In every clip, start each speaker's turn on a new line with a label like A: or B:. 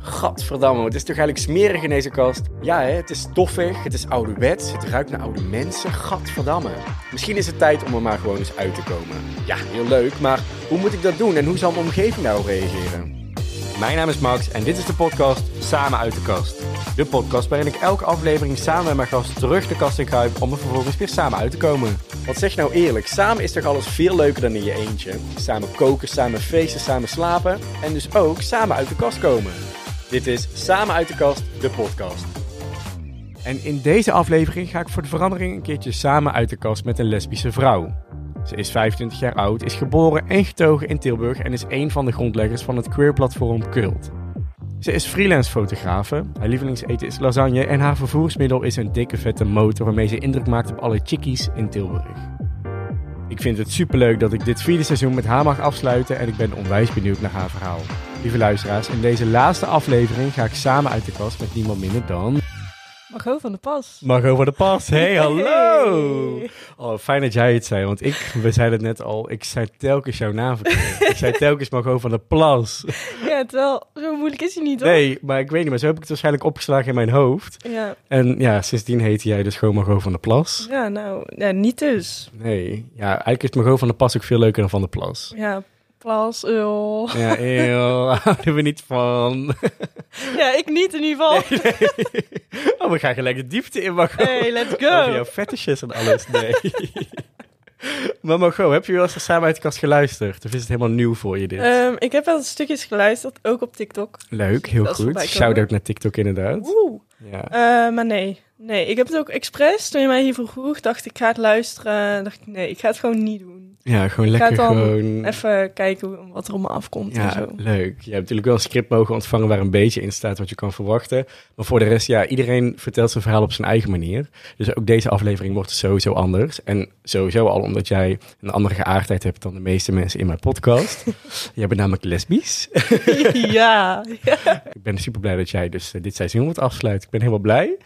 A: Gadverdamme, het is toch eigenlijk smerig in deze kast? Ja, hè, het is toffig, het is ouderwets, het ruikt naar oude mensen. Gadverdamme. Misschien is het tijd om er maar gewoon eens uit te komen. Ja, heel leuk, maar hoe moet ik dat doen en hoe zal mijn omgeving daarop reageren? Mijn naam is Max en dit is de podcast Samen uit de Kast. De podcast waarin ik elke aflevering samen met mijn gast terug de kast in kruip om er vervolgens weer samen uit te komen. Want zeg nou eerlijk, samen is toch alles veel leuker dan in je eentje? Samen koken, samen feesten, samen slapen en dus ook samen uit de kast komen. Dit is Samen uit de kast, de podcast. En in deze aflevering ga ik voor de verandering een keertje samen uit de kast met een lesbische vrouw. Ze is 25 jaar oud, is geboren en getogen in Tilburg en is een van de grondleggers van het queerplatform Cult. Ze is freelance fotografe, haar lievelingseten is lasagne en haar vervoersmiddel is een dikke vette motor waarmee ze indruk maakt op alle chickies in Tilburg. Ik vind het superleuk dat ik dit vierde seizoen met haar mag afsluiten en ik ben onwijs benieuwd naar haar verhaal. Lieve luisteraars, in deze laatste aflevering ga ik samen uit de kast met niemand minder dan...
B: Margot van de Pas.
A: Margot van de Pas. Hey, hallo!
B: Hey.
A: Oh, fijn dat jij het zei, want ik, we zeiden het net al, ik zei telkens jouw naam verkeerd. Ik zei telkens Margot van de Plas.
B: Ja, terwijl, zo moeilijk is hij niet, hoor.
A: Nee, maar ik weet niet, maar zo heb ik het waarschijnlijk opgeslagen in mijn hoofd.
B: Ja,
A: En ja, sindsdien heette jij dus gewoon Margot van de Plas.
B: ja nou, ja, niet dus.
A: Nee, ja, eigenlijk is Margot van de Pas ook veel leuker dan Van de Plas.
B: Ja, Plas, eul.
A: Ja, eeuw, houden we niet van.
B: Ja, ik niet in ieder geval.
A: Oh, we gaan gelijk de diepte in, Margot.
B: Hey, let's
A: Over jouw
B: go.
A: fetishes en alles, nee. maar Margot, heb je wel eens samen uit de kast geluisterd? Of is het helemaal nieuw voor je dit?
B: Ehm, ik heb wel stukjes geluisterd, ook op TikTok.
A: Leuk, heel
B: dat is
A: goed.
B: voorbij komen.
A: Shout-out naar TikTok inderdaad.
B: Oeh.
A: Ja.
B: Eh, maar nee, nee. Ik heb het ook expres, toen je mij hiervoor vroeg, dacht ik ga het luisteren. Dacht ik, nee, ik ga het gewoon niet doen.
A: ja, gewoon
B: Ik ga
A: lekker
B: het dan
A: gewoon...
B: even kijken hoe- wat er om me afkomt en
A: Ja,
B: zo.
A: leuk. Je hebt natuurlijk wel een script mogen ontvangen waar een beetje in staat wat je kan verwachten. Maar voor de rest, ja, iedereen vertelt zijn verhaal op zijn eigen manier. Dus ook deze aflevering wordt sowieso anders. En sowieso al omdat jij een andere geaardheid hebt dan de meeste mensen in mijn podcast. jij bent namelijk lesbisch.
B: ja.
A: Ik ben super blij dat jij dus eh, dit seizoen wordt afsluit. Ik ben helemaal blij.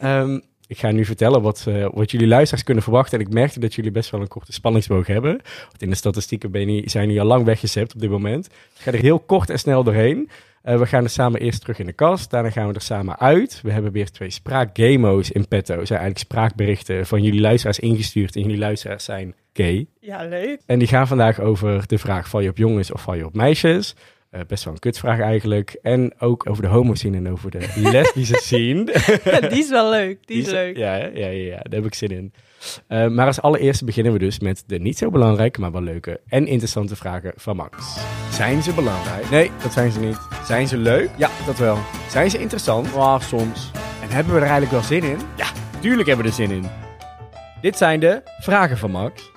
A: Ehm, ik ga nu vertellen wat, eh, wat jullie luisteraars kunnen verwachten. En ik merkte dat jullie best wel een korte spanningsboog hebben. Want in de statistieken ben je, zijn jullie al lang weggezept op dit moment. Ik ga er heel kort en snel doorheen. Eh, we gaan er samen eerst terug in de kast. Daarna gaan we er samen uit. We hebben weer twee spraakgamo's in petto. Dat zijn eigenlijk spraakberichten van jullie luisteraars ingestuurd. En jullie luisteraars zijn gay.
B: ja, leuk.
A: En die gaan vandaag over de vraag: val je op jongens of val je op meisjes? Eh, best wel een kutvraag eigenlijk. En ook over de homo-scene en over de lesbische scene.
B: Ja, die is wel leuk. Die is
A: Die
B: leuk.
A: Ja, hè? ja, ja, ja, daar heb ik zin in. Eh, maar als allereerste beginnen we dus met de niet zo belangrijke, maar wel leuke en interessante vragen van Max. Zijn ze belangrijk? Nee, dat zijn ze niet. Zijn ze leuk? Ja, dat wel. Zijn ze interessant? Ja, soms. En hebben we er eigenlijk wel zin in? Ja, tuurlijk hebben we er zin in. Dit zijn de vragen van Max.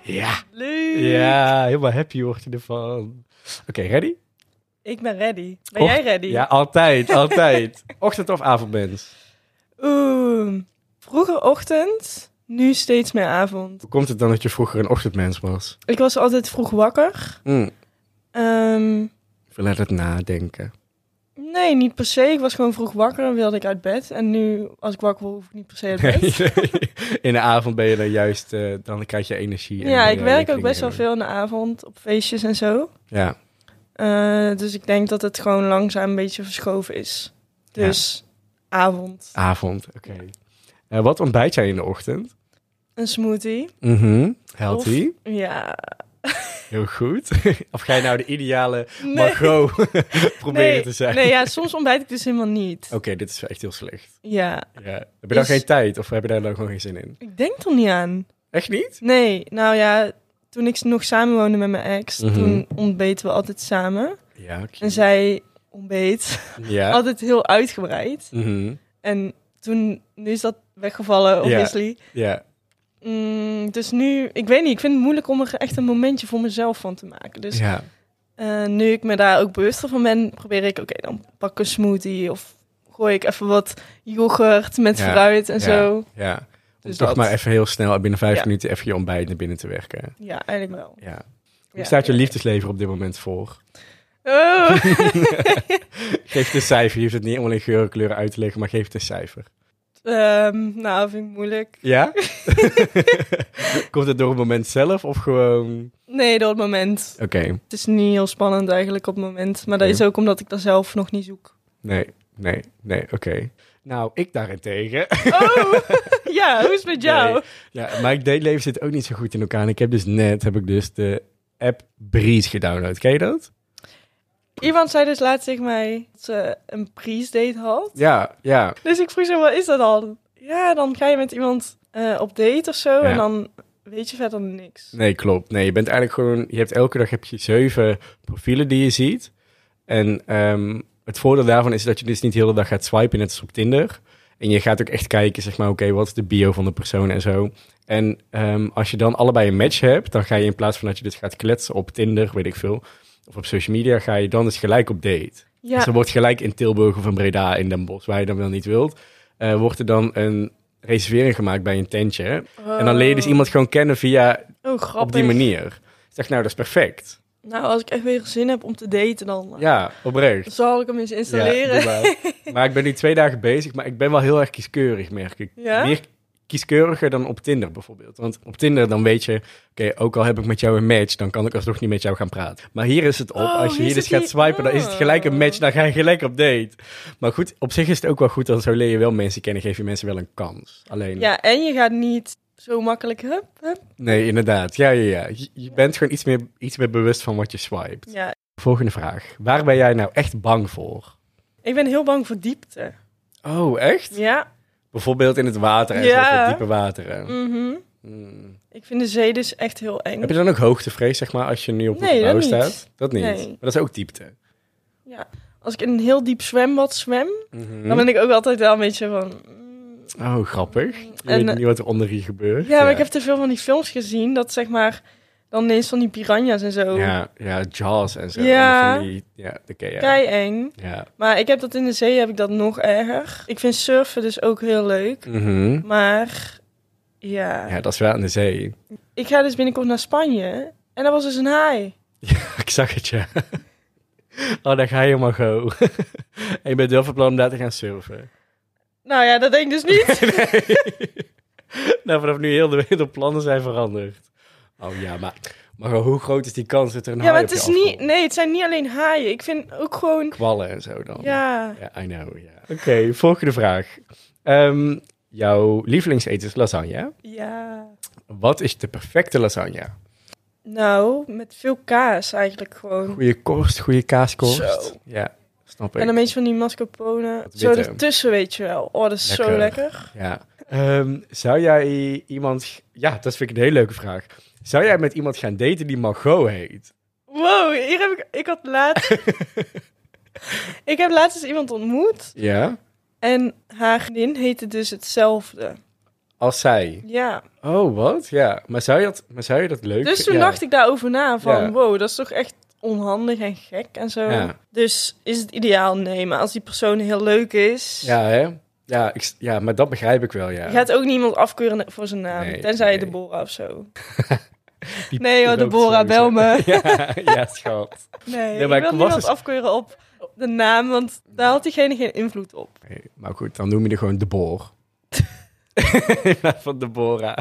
A: Ja.
B: Leuk.
A: Ja, helemaal happy word je ervan. Oké, ready?
B: Ik ben ready. Ben
A: Och-
B: jij ready?
A: Ja, altijd, altijd. Ochtend of avondmens?
B: Oeh, vroeger Ehm, ochtend, nu steeds meer avond.
A: Hoe komt het dan dat je vroeger een ochtendmens was?
B: Ik was altijd vroeg wakker.
A: Hm,
B: Ehm,
A: even laat het nadenken.
B: nee, niet per se. Ik was gewoon vroeg wakker en wilde ik uit bed. En nu, als ik wakker word, hoef ik niet per se uit bed.
A: In de avond ben je dan juist, eh, dan krijg je energie. en
B: ja,
A: die,
B: ik
A: eh,
B: werk ook
A: dingen
B: best wel
A: doen.
B: veel in de avond, op feestjes en zo.
A: Ja,
B: Eh, dus ik denk dat het gewoon langzaam een beetje verschoven is.
A: Ja.
B: Dus avond.
A: avond, oké. Eh, wat ontbijt jij in de ochtend?
B: Een smoothie.
A: Mhm, Healthy,
B: Ja.
A: heel goed. of ga je nou de ideale Margot proberen
B: nee,
A: te zijn?
B: Nee, ja, soms ontbijt ik dus helemaal niet.
A: Oké, dit is echt heel slecht.
B: Ja,
A: Ja. Heb je dan
B: Is-
A: geen tijd of heb je daar dan gewoon geen zin in?
B: ik denk er niet aan.
A: Echt niet?
B: Nee, nou ja, toen ik nog samen woonde met mijn ex,
A: Mhm.
B: toen ontbeten we altijd samen.
A: Ja,
B: En zij ontbeet
A: ja.
B: altijd heel uitgebreid.
A: Mhm.
B: En toen, nu is dat weggevallen,
A: Ja.
B: obviously.
A: ja.
B: Mm, dus nu, ik weet niet, ik vind het moeilijk om er echt een momentje voor mezelf van te maken. Dus
A: ja.
B: eh, nu ik me daar ook bewuster van ben, probeer ik, oké, dan pak ik een smoothie of gooi ik even wat yoghurt met
A: Ja.
B: fruit en
A: Ja.
B: zo.
A: ja. Om
B: Dus
A: toch
B: dat.
A: maar even heel snel binnen vijf
B: Ja.
A: minuten even je ontbijt naar binnen te werken.
B: Ja, eigenlijk wel.
A: Ja. Hoe
B: Ja.
A: staat je liefdesleven op dit moment voor?
B: Oh.
A: Geef het een cijfer. Je hoeft het niet helemaal in geurenkleuren uit te leggen, maar geef het een cijfer.
B: Ehm, nou, vind ik moeilijk.
A: Ja? Komt het door het moment zelf of gewoon...
B: Nee, door het moment.
A: Oké,
B: Het is niet heel spannend eigenlijk op het moment. Maar dat
A: Nee.
B: is ook omdat ik dat zelf nog niet zoek.
A: nee, nee, nee, oké. Nou, ik daarentegen.
B: Oh, ja, hoe is het met jou?
A: Nee. Ja, maar ik dateleven zit ook niet zo goed in elkaar. En ik heb dus net, heb ik dus de app Breeze gedownload. Ken je dat?
B: Iemand zei dus laatst tegen mij dat ze een priestdate had.
A: Ja, ja.
B: Dus ik vroeg ze, wat is dat dan? Ja, dan ga je met iemand eh, op date of zo
A: Ja.
B: en dan weet je verder niks.
A: Nee, klopt. Nee, je bent eigenlijk gewoon... Je hebt elke dag heb je zeven profielen die je ziet. En ehm, het voordeel daarvan is dat je dus niet de hele dag gaat swipen, net als op Tinder. En je gaat ook echt kijken, zeg maar, oké, wat is de bio van de persoon en zo. En ehm, als je dan allebei een match hebt, dan ga je in plaats van dat je dit gaat kletsen op Tinder, weet ik veel, of op social media, ga je dan eens gelijk op date.
B: Ja,
A: Dus er wordt gelijk in Tilburg of in Breda in Den Bosch, waar je dan wel niet wilt, eh, wordt er dan een reservering gemaakt bij een tentje. En dan leer je dus
B: Oh.
A: iemand gewoon kennen via
B: Oh, grappig.
A: op die manier. Ik zeg, nou, dat is perfect.
B: Nou, als ik echt weer zin heb om te daten, dan eh,
A: Ja, oprecht.
B: zal ik hem eens installeren.
A: Ja, doe maar. maar ik ben nu twee dagen bezig, maar ik ben wel heel erg kieskeurig, merk ik.
B: Ja?
A: Meer kieskeuriger dan op Tinder bijvoorbeeld. Want op Tinder dan weet je, oké, ook al heb ik met jou een match, dan kan ik alsnog niet met jou gaan praten. Maar hier is het op,
B: Oh,
A: als je
B: hier
A: hier dus
B: zit
A: gaat
B: die-
A: swipen, dan is het gelijk een match, dan ga je gelijk op date. Maar goed, op zich is het ook wel goed, dan zo leer je wel mensen kennen, geef je mensen wel een kans. Alleen,
B: Ja, en je gaat niet zo makkelijk, hup, hup.
A: nee, inderdaad. Ja, ja, ja. Je, je bent gewoon iets meer, iets meer bewust van wat je swipet.
B: Ja,
A: Volgende vraag. Waar ben jij nou echt bang voor?
B: ik ben heel bang voor diepte.
A: Oh, echt?
B: Ja,
A: Bijvoorbeeld in het water en
B: Ja.
A: zo, voor diepe wateren.
B: mhm.
A: Mm.
B: ik vind de zee dus echt heel eng.
A: Heb je dan ook hoogtevrees, zeg maar, als je nu op een
B: Nee,
A: gebouw
B: dat niet.
A: staat? Dat niet.
B: Nee.
A: Maar dat is ook diepte.
B: Ja, als ik in een heel diep zwembad zwem,
A: Hm?
B: dan ben ik ook altijd wel een beetje van... mm,
A: Mhm. Oh, grappig. Je
B: En,
A: weet
B: eh,
A: niet wat er onder je gebeurt.
B: Ja, maar ik heb te veel van die films gezien dat zeg maar dan ineens van die piranha's en zo.
A: Ja, ja, Jaws en zo.
B: Ja.
A: En van die- ja, dat ken je.
B: Kei eng.
A: Ja.
B: Maar ik heb dat in de zee heb ik dat nog erger. Ik vind surfen dus ook heel leuk.
A: Mhm.
B: Maar ja.
A: ja, dat is wel aan de zee.
B: Ik ga dus binnenkort naar Spanje. En dat was dus een haai.
A: ik zag het, ja. oh, daar ga je helemaal go. en je bent wel van plan om daar te gaan surfen.
B: Nou ja, dat denk ik dus niet.
A: Nee. nou, vanaf nu heel de, de plannen zijn veranderd. Oh ja, maar, maar gewoon hoe groot is die kans dat er een
B: ja, maar
A: haai
B: het
A: op je
B: is niet.
A: afkomt?
B: Nee, het zijn niet alleen haaien. Ik vind ook gewoon.
A: Kwallen en zo dan.
B: Ja.
A: Ja, I know, ja. Oké, volgende vraag. Ehm, jouw lievelingseten is lasagne.
B: Ja.
A: Wat is de perfecte lasagne?
B: Nou, met veel kaas eigenlijk gewoon.
A: Goede korst, goede kaaskorst.
B: Zo.
A: Ja, snap ik.
B: En een beetje van die mascarpone.
A: Wat
B: Zo
A: witte.
B: ertussen, weet je wel. Oh, dat is zo
A: Lekker.
B: lekker.
A: Ja. Ehm, zou jij iemand... Ja, dat vind ik een hele leuke vraag. Zou jij met iemand gaan daten die Margot heet?
B: Wow, hier heb ik. Ik had laatst. ik heb laatst eens iemand ontmoet.
A: Ja?
B: En haar vriendin heette dus hetzelfde.
A: Als zij.
B: Ja.
A: Oh, wat? Ja. Maar zou je dat, maar zou je dat leuk
B: Dus toen
A: ja.
B: dacht ik daarover na van,
A: Ja.
B: wow, dat is toch echt onhandig en gek en zo.
A: Ja.
B: Dus is het ideaal? Nee, maar als die persoon heel leuk is,
A: Ja, hè? Ja, ik, s- ja, maar dat begrijp ik wel, ja.
B: je gaat ook niemand afkeuren voor zijn naam,
A: Nee,
B: tenzij
A: nee.
B: de Bora of zo.
A: Die
B: Nee hoor,
A: rookt
B: Deborah,
A: sowieso.
B: bel me.
A: ja, ja, schat.
B: Nee,
A: maar
B: ik
A: ik was dus-
B: wil niemand
A: eens-
B: afkeuren op de naam, want daar had diegene geen invloed op.
A: Nee, maar goed, dan noem je er gewoon de boor. Van Deborah.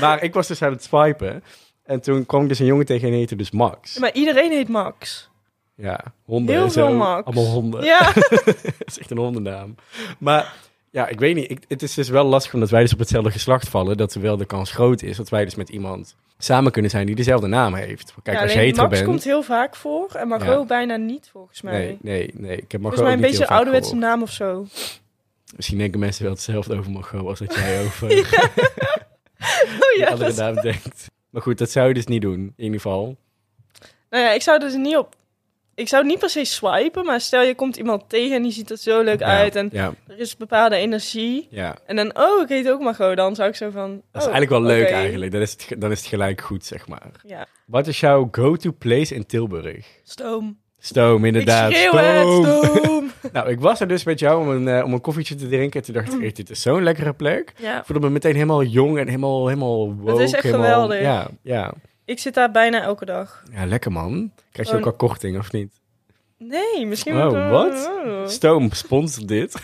A: maar ik was dus aan het swipen. En toen kwam ik dus een jongen tegen en die heette dus Max.
B: Maar iedereen heet Max.
A: Ja, honden
B: Heel
A: en zo.
B: veel Max.
A: Allemaal honden.
B: Ja,
A: Dat is echt een hondennaam. Maar ja, ik weet niet. Ik, het is dus wel lastig omdat wij dus op hetzelfde geslacht vallen. Dat wel de kans groot is dat wij dus met iemand samen kunnen zijn die dezelfde naam heeft. Kijk,
B: Ja,
A: als je
B: alleen
A: hetero
B: Max
A: bent...
B: komt heel vaak voor en Margot
A: Ja.
B: bijna niet, volgens mij.
A: Nee, nee, nee. Ik heb Margot
B: Volgens mij
A: ook
B: een
A: niet
B: beetje
A: heel
B: een
A: vaak
B: ouderwetse
A: gehoord.
B: naam of zo.
A: Misschien denken mensen wel hetzelfde over Margot als dat jij over
B: Oh
A: die
B: ja,
A: andere
B: dat-
A: naam denkt. Maar goed, dat zou je dus niet doen, in ieder geval.
B: Nou ja, ik zou dus niet op. Ik zou niet per se swipen, maar stel je komt iemand tegen en die ziet er zo leuk
A: Ja,
B: uit en
A: Ja,
B: er is bepaalde energie.
A: ja.
B: En dan, oh, ik heet ook Margot, dan zou ik zo van.
A: Dat is
B: oh,
A: eigenlijk wel leuk
B: oké.
A: eigenlijk. Dan is, het, ge- dan is het gelijk goed, zeg maar.
B: Ja,
A: Wat is jouw go-to place in Tilburg?
B: stoom.
A: Stoom, inderdaad.
B: ik schreeuw het, stoom.
A: Nou, ik was er dus met jou om een, eh, om een koffietje te drinken. En toen dacht ik, echt, dit is zo'n lekkere plek.
B: Mm. ja,
A: Ik voelde me meteen helemaal jong en helemaal, helemaal woke.
B: is echt
A: helemaal-
B: geweldig.
A: Ja, ja.
B: ik zit daar bijna elke dag.
A: ja, lekker man. Krijg je
B: Gewoon-
A: ook al korting, of niet?
B: Nee, misschien.
A: Oh,
B: moet ik-
A: wat? Stoom, sponsor dit.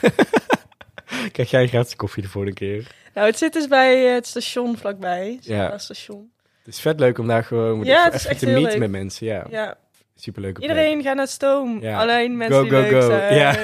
A: Krijg jij gratis koffie de volgende keer.
B: Nou, het zit dus bij eh, het station vlakbij.
A: Ja.
B: Ja. station.
A: Het is vet leuk om daar gewoon
B: Ja, het is
A: even
B: echt
A: te
B: heel
A: meeten
B: leuk.
A: met mensen. Ja,
B: Ja.
A: superleuke plek.
B: Iedereen gaat naar Stoom.
A: Ja.
B: Alleen mensen
A: Go,
B: die
A: go,
B: leuk
A: go.
B: zijn.
A: Ja.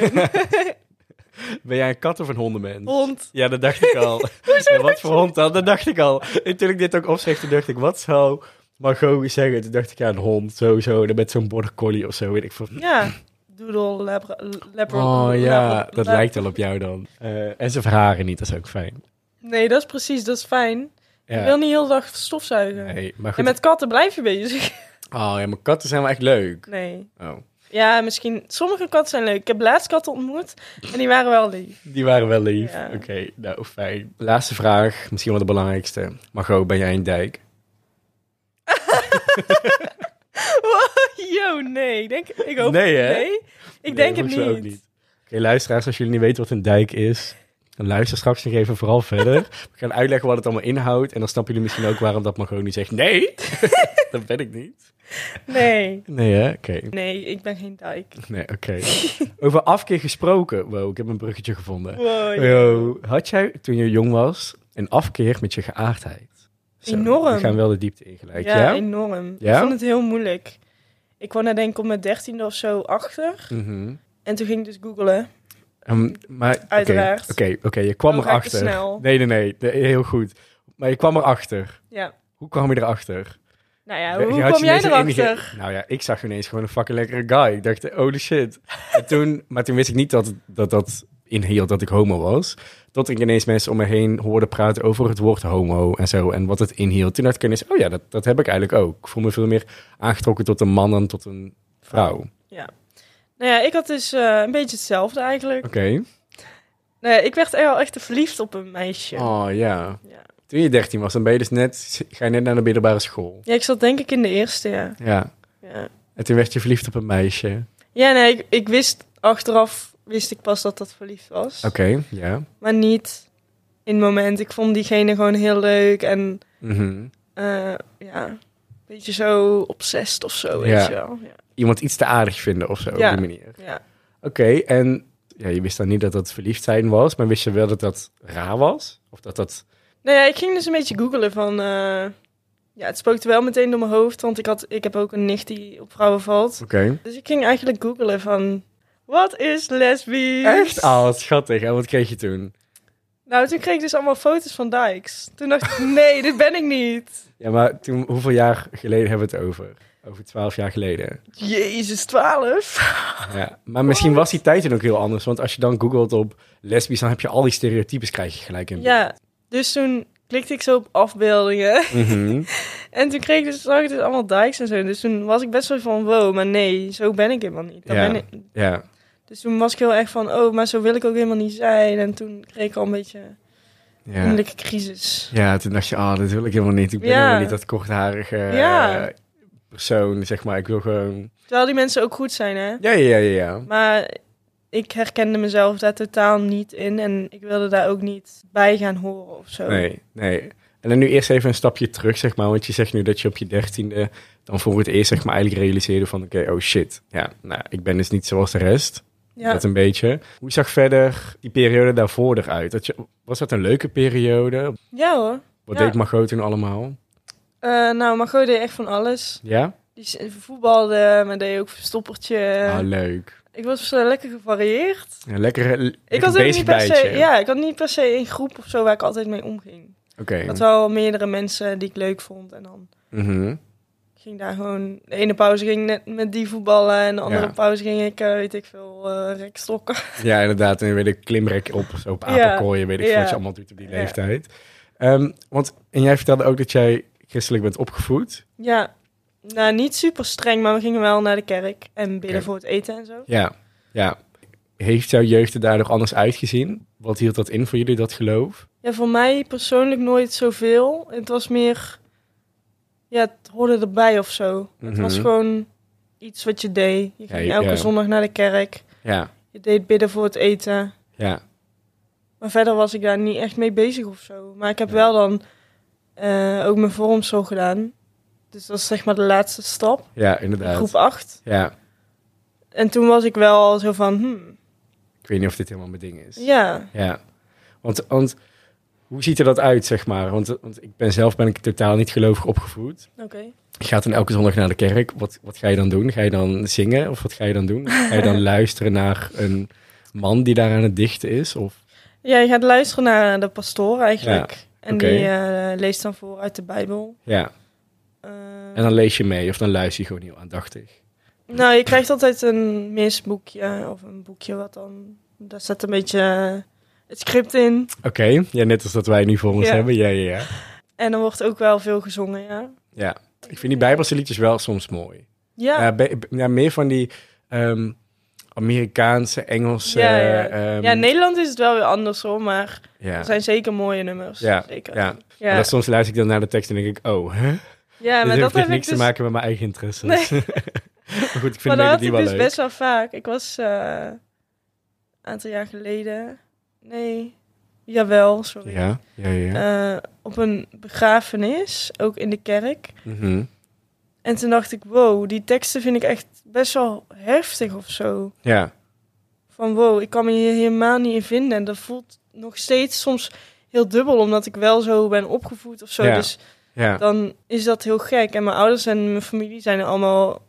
A: Ben jij een kat of een hondenmens?
B: Hond.
A: Ja, dat dacht ik al. ja, wat voor hond dan? Dat dacht ik al. En toen ik dit ook opschreef, toen dacht ik, wat zou Margot zeggen? Toen dacht ik, ja, een hond, sowieso. En dan met zo'n border collie of zo, weet ik veel.
B: Ja. Doodle, labra, labra,
A: Oh ja,
B: labra-
A: dat
B: lab-
A: lijkt wel op jou dan. Eh, en ze verharen niet, dat is ook fijn.
B: Nee, dat is precies, dat is fijn. Je
A: Ja.
B: wil niet heel de dag stofzuigen.
A: Nee, maar goed.
B: En met katten blijf je bezig.
A: Oh ja, maar katten zijn wel echt leuk.
B: Nee.
A: Oh,
B: Ja, misschien. Sommige katten zijn leuk. Ik heb laatst katten ontmoet en die waren wel lief.
A: die waren wel lief.
B: Ja.
A: Oké, nou fijn. Laatste vraag, misschien wel de belangrijkste. Margot, ben jij een dijk?
B: Yo, nee. Ik denk, ik hoop
A: Nee, hè?
B: Nee. Ik denk het
A: volgens mij
B: niet.
A: ook Oké, luisteraars, als jullie niet weten wat een dijk is, dan luister straks nog even vooral verder. We gaan uitleggen wat het allemaal inhoudt. En dan snappen jullie misschien ook waarom dat Margot niet zegt: nee, dat ben ik niet.
B: Nee.
A: Nee, hè? Oké.
B: Nee, ik ben geen dijk.
A: Nee, oké. Over afkeer gesproken. Wow, ik heb een bruggetje gevonden.
B: Wow.
A: Yo, had jij toen je jong was een afkeer met je geaardheid?
B: Enorm.
A: We gaan wel de diepte in gelijk. Ja.
B: ja, enorm.
A: Ja?
B: Ik vond het heel moeilijk. Ik kwam er denk ik op mijn dertiende of zo achter.
A: Mhm.
B: En toen ging ik dus googlen.
A: Ehm, maar oké,
B: Uiteraard.
A: Oké, oké, je kwam
B: Dan ga ik te
A: erachter.
B: snel.
A: Nee, nee, nee, nee, heel goed. Maar je kwam erachter.
B: Ja.
A: Hoe kwam je erachter?
B: Nou ja,
A: Ja,
B: hoe,
A: je had
B: kwam
A: je
B: jij
A: ineens een
B: erachter?
A: enige- nou ja, ik zag ineens gewoon een fucking lekkere guy. Ik dacht, holy shit. En toen, maar toen wist ik niet dat dat, dat inhield dat ik homo was. Tot ik ineens mensen om me heen hoorde praten over het woord homo en zo. En wat het inhield. Toen dacht ik ineens, oh ja, dat, dat heb ik eigenlijk ook. Ik voel me veel meer aangetrokken tot een man dan tot een vrouw. Oké.
B: Nou ja, ik had dus eh, een beetje hetzelfde eigenlijk. Nou ja, ik werd echt wel echt verliefd op een meisje.
A: Oh ja.
B: Ja.
A: Toen je 13 was, dan ben je dus net, ga je net naar de middelbare school.
B: Ja, ik zat denk ik in de eerste, ja.
A: Ja.
B: Ja,
A: En toen werd je verliefd op een meisje.
B: ja nee, ik, ik wist achteraf, wist ik pas dat dat verliefd was.
A: Oké, ja.
B: Maar niet in het moment. Ik vond diegene gewoon heel leuk en
A: Mhm.
B: eh, ja, een beetje zo obsessed of zo, weet
A: Ja.
B: je wel. Ja,
A: Iemand iets te aardig vinden of zo,
B: Ja.
A: op die manier.
B: ja.
A: Oké, en ja, je wist dan niet dat dat verliefd zijn was, maar wist je wel dat dat raar was? Of dat dat...
B: Nou ja, ik ging dus een beetje googelen van... eh, ja, het spookte wel meteen door mijn hoofd, want ik, had, ik heb ook een nicht die op vrouwen valt.
A: Oké.
B: Dus ik ging eigenlijk googelen van... Wat is lesbisch?
A: Echt? Ah, wat schattig. En wat kreeg je toen?
B: Nou, toen kreeg ik dus allemaal foto's van Dykes. Toen dacht ik, nee, dit ben ik niet.
A: Ja, maar toen, hoeveel jaar geleden hebben we het over? Over twaalf jaar geleden.
B: Jezus, 12.
A: Ja. Maar misschien was die tijd toen ook heel anders, want als je dan googelt op lesbisch, dan heb je al die stereotypes, krijg je gelijk in.
B: Ja, dus toen klikte ik zo op afbeeldingen.
A: Mhm.
B: En toen kreeg ik dus, zag ik dus allemaal Dykes en zo. Dus toen was ik best wel van, wow, maar nee, zo ben ik helemaal niet. Dat
A: Ja.
B: ben ik...
A: ja.
B: Dus toen was ik heel erg van, oh, maar zo wil ik ook helemaal niet zijn. En toen kreeg ik al een beetje...
A: Ja.
B: innerlijke crisis.
A: ja, toen dacht je, ah, dat wil ik helemaal niet. Ik ben
B: Ja.
A: helemaal niet dat kortharige eh,
B: Ja.
A: persoon, zeg maar. Ik wil gewoon...
B: Terwijl die mensen ook goed zijn, hè?
A: Ja, ja, ja, ja.
B: Maar ik herkende mezelf daar totaal niet in en ik wilde daar ook niet bij gaan horen of zo.
A: Nee, nee. En dan nu eerst even een stapje terug, zeg maar. Want je zegt nu dat je op je dertiende dan voor het eerst, zeg maar, eigenlijk realiseerde van... Oké, oh shit. Ja, nou, ik ben dus niet zoals de rest.
B: Ja.
A: Dat een beetje. Hoe zag verder die periode daarvoor eruit? Dat je, was dat een leuke periode?
B: ja hoor.
A: Wat
B: Ja.
A: deed Margot toen allemaal?
B: Eh nou, Margot deed echt van alles.
A: Ja?
B: Die s- voetbalde, maar deed ook verstoppertje.
A: ah, leuk.
B: ik was zo lekker gevarieerd.
A: Ja, lekker, eh, lekker
B: Ik had ook
A: bezig
B: niet per se,
A: bijtje.
B: ja, ik had niet per se een groep of zo waar ik altijd mee omging.
A: Oké.
B: Ik had wel meerdere mensen die ik leuk vond en dan
A: Mhm.
B: ging daar gewoon... De ene pauze ging net met die voetballen en de andere
A: Ja.
B: pauze ging ik, eh, weet ik veel, eh rekstokken.
A: Ja, inderdaad. En weer de klimrek op, zo op
B: Ja.
A: apenkooien, weet ik veel
B: Ja.
A: wat je allemaal doet op die
B: Ja.
A: leeftijd. Ehm, want, en jij vertelde ook dat jij christelijk bent opgevoed.
B: Ja, nou niet super streng, maar we gingen wel naar de kerk en bidden
A: Oké.
B: voor het eten en zo.
A: Ja, ja. Heeft jouw jeugd er daar nog anders uitgezien? Wat hield dat in voor jullie, dat geloof?
B: Ja, voor mij persoonlijk nooit zoveel. Het was meer, ja, het hoorde erbij of zo. Het
A: Mhm.
B: was gewoon iets wat je deed. Je
A: Ja,
B: ging
A: je-
B: elke
A: ja.
B: zondag naar de kerk.
A: Ja,
B: Je deed bidden voor het eten.
A: ja.
B: Maar verder was ik daar niet echt mee bezig of zo. Maar ik heb
A: Ja.
B: wel dan eh, ook mijn vormschool gedaan. Dus dat is zeg maar de laatste stap,
A: Ja, inderdaad.
B: groep 8.
A: Ja,
B: En toen was ik wel zo van, hmm,
A: ik weet niet of dit helemaal mijn ding is.
B: ja,
A: Ja. Want, want hoe ziet er dat uit, zeg maar? Want, want ik ben zelf ben ik totaal niet gelovig opgevoed.
B: Oké.
A: Je gaat dan elke zondag naar de kerk. Wat, wat ga je dan doen? Ga je dan zingen? Of wat ga je dan doen? Ga je dan luisteren naar een man die daar aan het dichten is? Of
B: Ja, je gaat luisteren naar de pastoor eigenlijk. En
A: oké.
B: die eh, leest dan voor uit de Bijbel.
A: ja,
B: Eh,
A: en dan lees je mee of dan luister je gewoon heel aandachtig.
B: Nou, je krijgt altijd een misboekje of een boekje wat dan... Daar staat een beetje eh, het script in.
A: Oké, ja, net als dat wij nu voor ons
B: Ja.
A: hebben. Ja, ja, ja.
B: En dan wordt ook wel veel gezongen, ja.
A: Ja, ik vind die Bijbelse liedjes wel soms mooi.
B: Ja,
A: Ja, be- be- ja, meer van die ehm, Amerikaanse, Engelse...
B: Ja, ja.
A: ehm,
B: ja in Nederland is het wel weer anders hoor, maar
A: ja.
B: er zijn zeker mooie nummers.
A: Ja,
B: zeker.
A: ja. Maar
B: ja.
A: dan soms luister ik dan naar de tekst en denk ik, oh, hè?
B: Ja,
A: Dit
B: maar dat
A: heeft
B: heb
A: echt
B: ik
A: niks
B: dus...
A: te maken met mijn eigen interesses.
B: Nee.
A: maar goed, ik
B: Maar
A: vind
B: dat had
A: melodie
B: ik
A: wel
B: dus
A: leuk.
B: best wel vaak. Ik was eh, een aantal jaar geleden... Nee, jawel, sorry.
A: Ja, ja, ja. ja.
B: eh, op een begrafenis, ook in de kerk.
A: Mhm.
B: En toen dacht ik, wow, die teksten vind ik echt best wel heftig of zo.
A: ja.
B: Van wow, ik kan me hier helemaal niet in vinden. En dat voelt nog steeds soms heel dubbel, omdat ik wel zo ben opgevoed of zo.
A: Ja.
B: Dus
A: ja.
B: dan is dat heel gek. En mijn ouders en mijn familie zijn er allemaal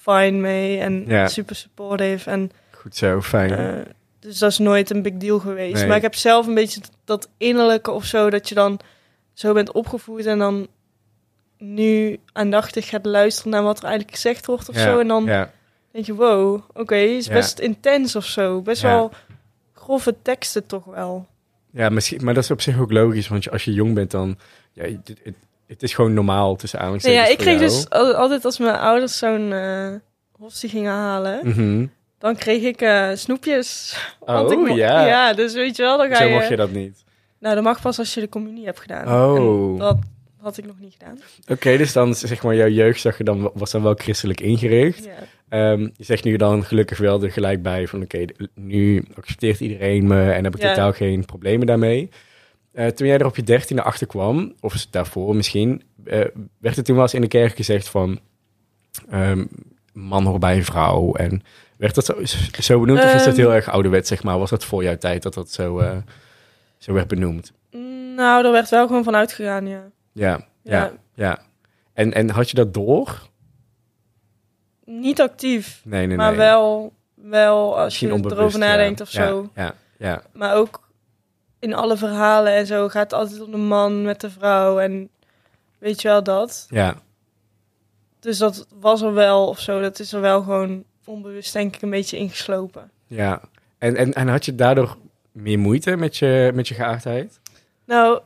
B: fine mee en
A: Ja.
B: super supportive. En,
A: Goed zo, fijn.
B: eh, dus dat is nooit een big deal geweest.
A: Nee.
B: Maar ik heb zelf een beetje dat innerlijke of zo, dat je dan zo bent opgevoed en dan nu aandachtig gaat luisteren naar wat er eigenlijk gezegd wordt of
A: ja,
B: zo. En dan
A: Ja,
B: denk je, wow, oké, is
A: Ja.
B: best intens of zo. Best
A: Ja.
B: wel grove teksten toch wel.
A: ja misschien, maar dat is op zich ook logisch, want je- als je jong bent dan... Ja, het, het, het is gewoon normaal, tussen
B: Nee, ja,
A: aanhalingstekens
B: ik
A: voor jou.
B: kreeg dus al- altijd als mijn ouders zo'n eh hostie gingen halen,
A: Mhm.
B: dan kreeg ik eh, snoepjes. dus- Want ik
A: Oh,
B: mo-
A: ja.
B: Ja, dus weet je wel, dan ga
A: Zo
B: je...
A: mocht je dat niet.
B: Nou, dat mag pas als je de communie hebt gedaan.
A: Oh.
B: En dat had ik nog niet gedaan.
A: Oké, dus dan zeg maar jouw jeugd zag je dan, was dan wel christelijk ingericht.
B: Ja.
A: Ehm, je zegt nu dan gelukkig wel er gelijk bij van oké, de- nu accepteert iedereen me en heb ik
B: Ja.
A: totaal geen problemen daarmee. Eh, toen jij er op je dertiende achter kwam, of daarvoor misschien, eh, werd er toen wel eens in de kerk gezegd van ehm, man hoort bij een vrouw. En werd dat zo, zo benoemd of is dat
B: Ehm.
A: heel erg ouderwet, zeg maar? Was dat voor jouw tijd dat dat zo, eh, zo werd benoemd?
B: Mm, Nou, daar werd wel gewoon van uitgegaan, ja.
A: Ja, ja, ja.
B: Ja.
A: En, en had je dat door?
B: Niet actief,
A: Nee, nee, nee.
B: maar wel, wel als
A: Misschien
B: je
A: onbewust,
B: erover
A: ja.
B: nadenkt of
A: Ja,
B: zo.
A: Ja, ja,
B: Maar ook in alle verhalen en zo gaat het altijd om de man met de vrouw en weet je wel dat.
A: ja.
B: Dus dat was er wel of zo. Dat is er wel gewoon onbewust denk ik een beetje ingeslopen.
A: Ja, en, en, en had je daardoor meer moeite met je, met je geaardheid?
B: Nou,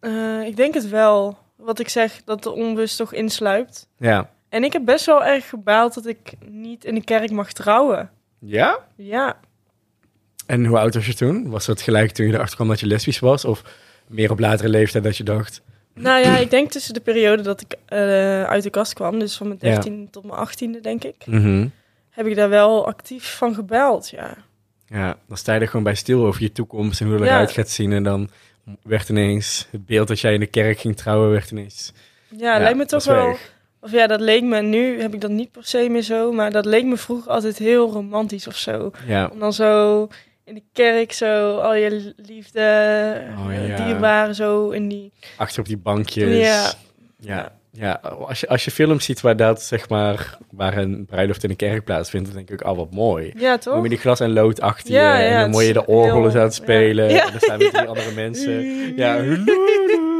B: eh, ik denk het wel. Wat ik zeg, dat de onbewust toch insluipt.
A: Ja.
B: En ik heb best wel erg gebaald dat ik niet in de kerk mag trouwen.
A: Ja?
B: Ja,
A: En hoe oud was je toen? Was dat gelijk toen je erachter kwam dat je lesbisch was? Of meer op latere leeftijd dat je dacht...
B: nou ja, ik denk tussen de periode dat ik eh, uit de kast kwam, dus van mijn
A: Ja.
B: 13 tot mijn 18e denk ik, heb ik daar wel actief van gebeld, ja.
A: Ja, dan sta je er gewoon bij stil over je toekomst en hoe dat
B: Ja.
A: eruit gaat zien. En dan werd ineens het beeld dat jij in de kerk ging trouwen, werd ineens...
B: Ja, lijkt me
A: dat
B: toch
A: is
B: wel.
A: erg.
B: Of ja, dat leek me nu, heb ik dat niet per se meer zo, maar dat leek me vroeger altijd heel romantisch of zo.
A: Ja,
B: Om dan zo in de kerk zo al je liefde,
A: Oh,
B: eh,
A: ja.
B: dierbaren zo in die.
A: achter op die bankjes.
B: Ja.
A: Ja. ja. Als, je, als je films ziet waar dat, zeg maar, waar een bruiloft in een kerk plaatsvindt, dan denk ik, oh wat mooi.
B: Ja,
A: Dan
B: toch?
A: Met die glas en lood achter je.
B: Ja, ja,
A: en dan
B: het
A: hoor je
B: is
A: de orgel is aan het
B: heel-
A: spelen.
B: ja.
A: En dan staan met die
B: Ja.
A: andere mensen.
B: Mm.
A: Ja, hululu.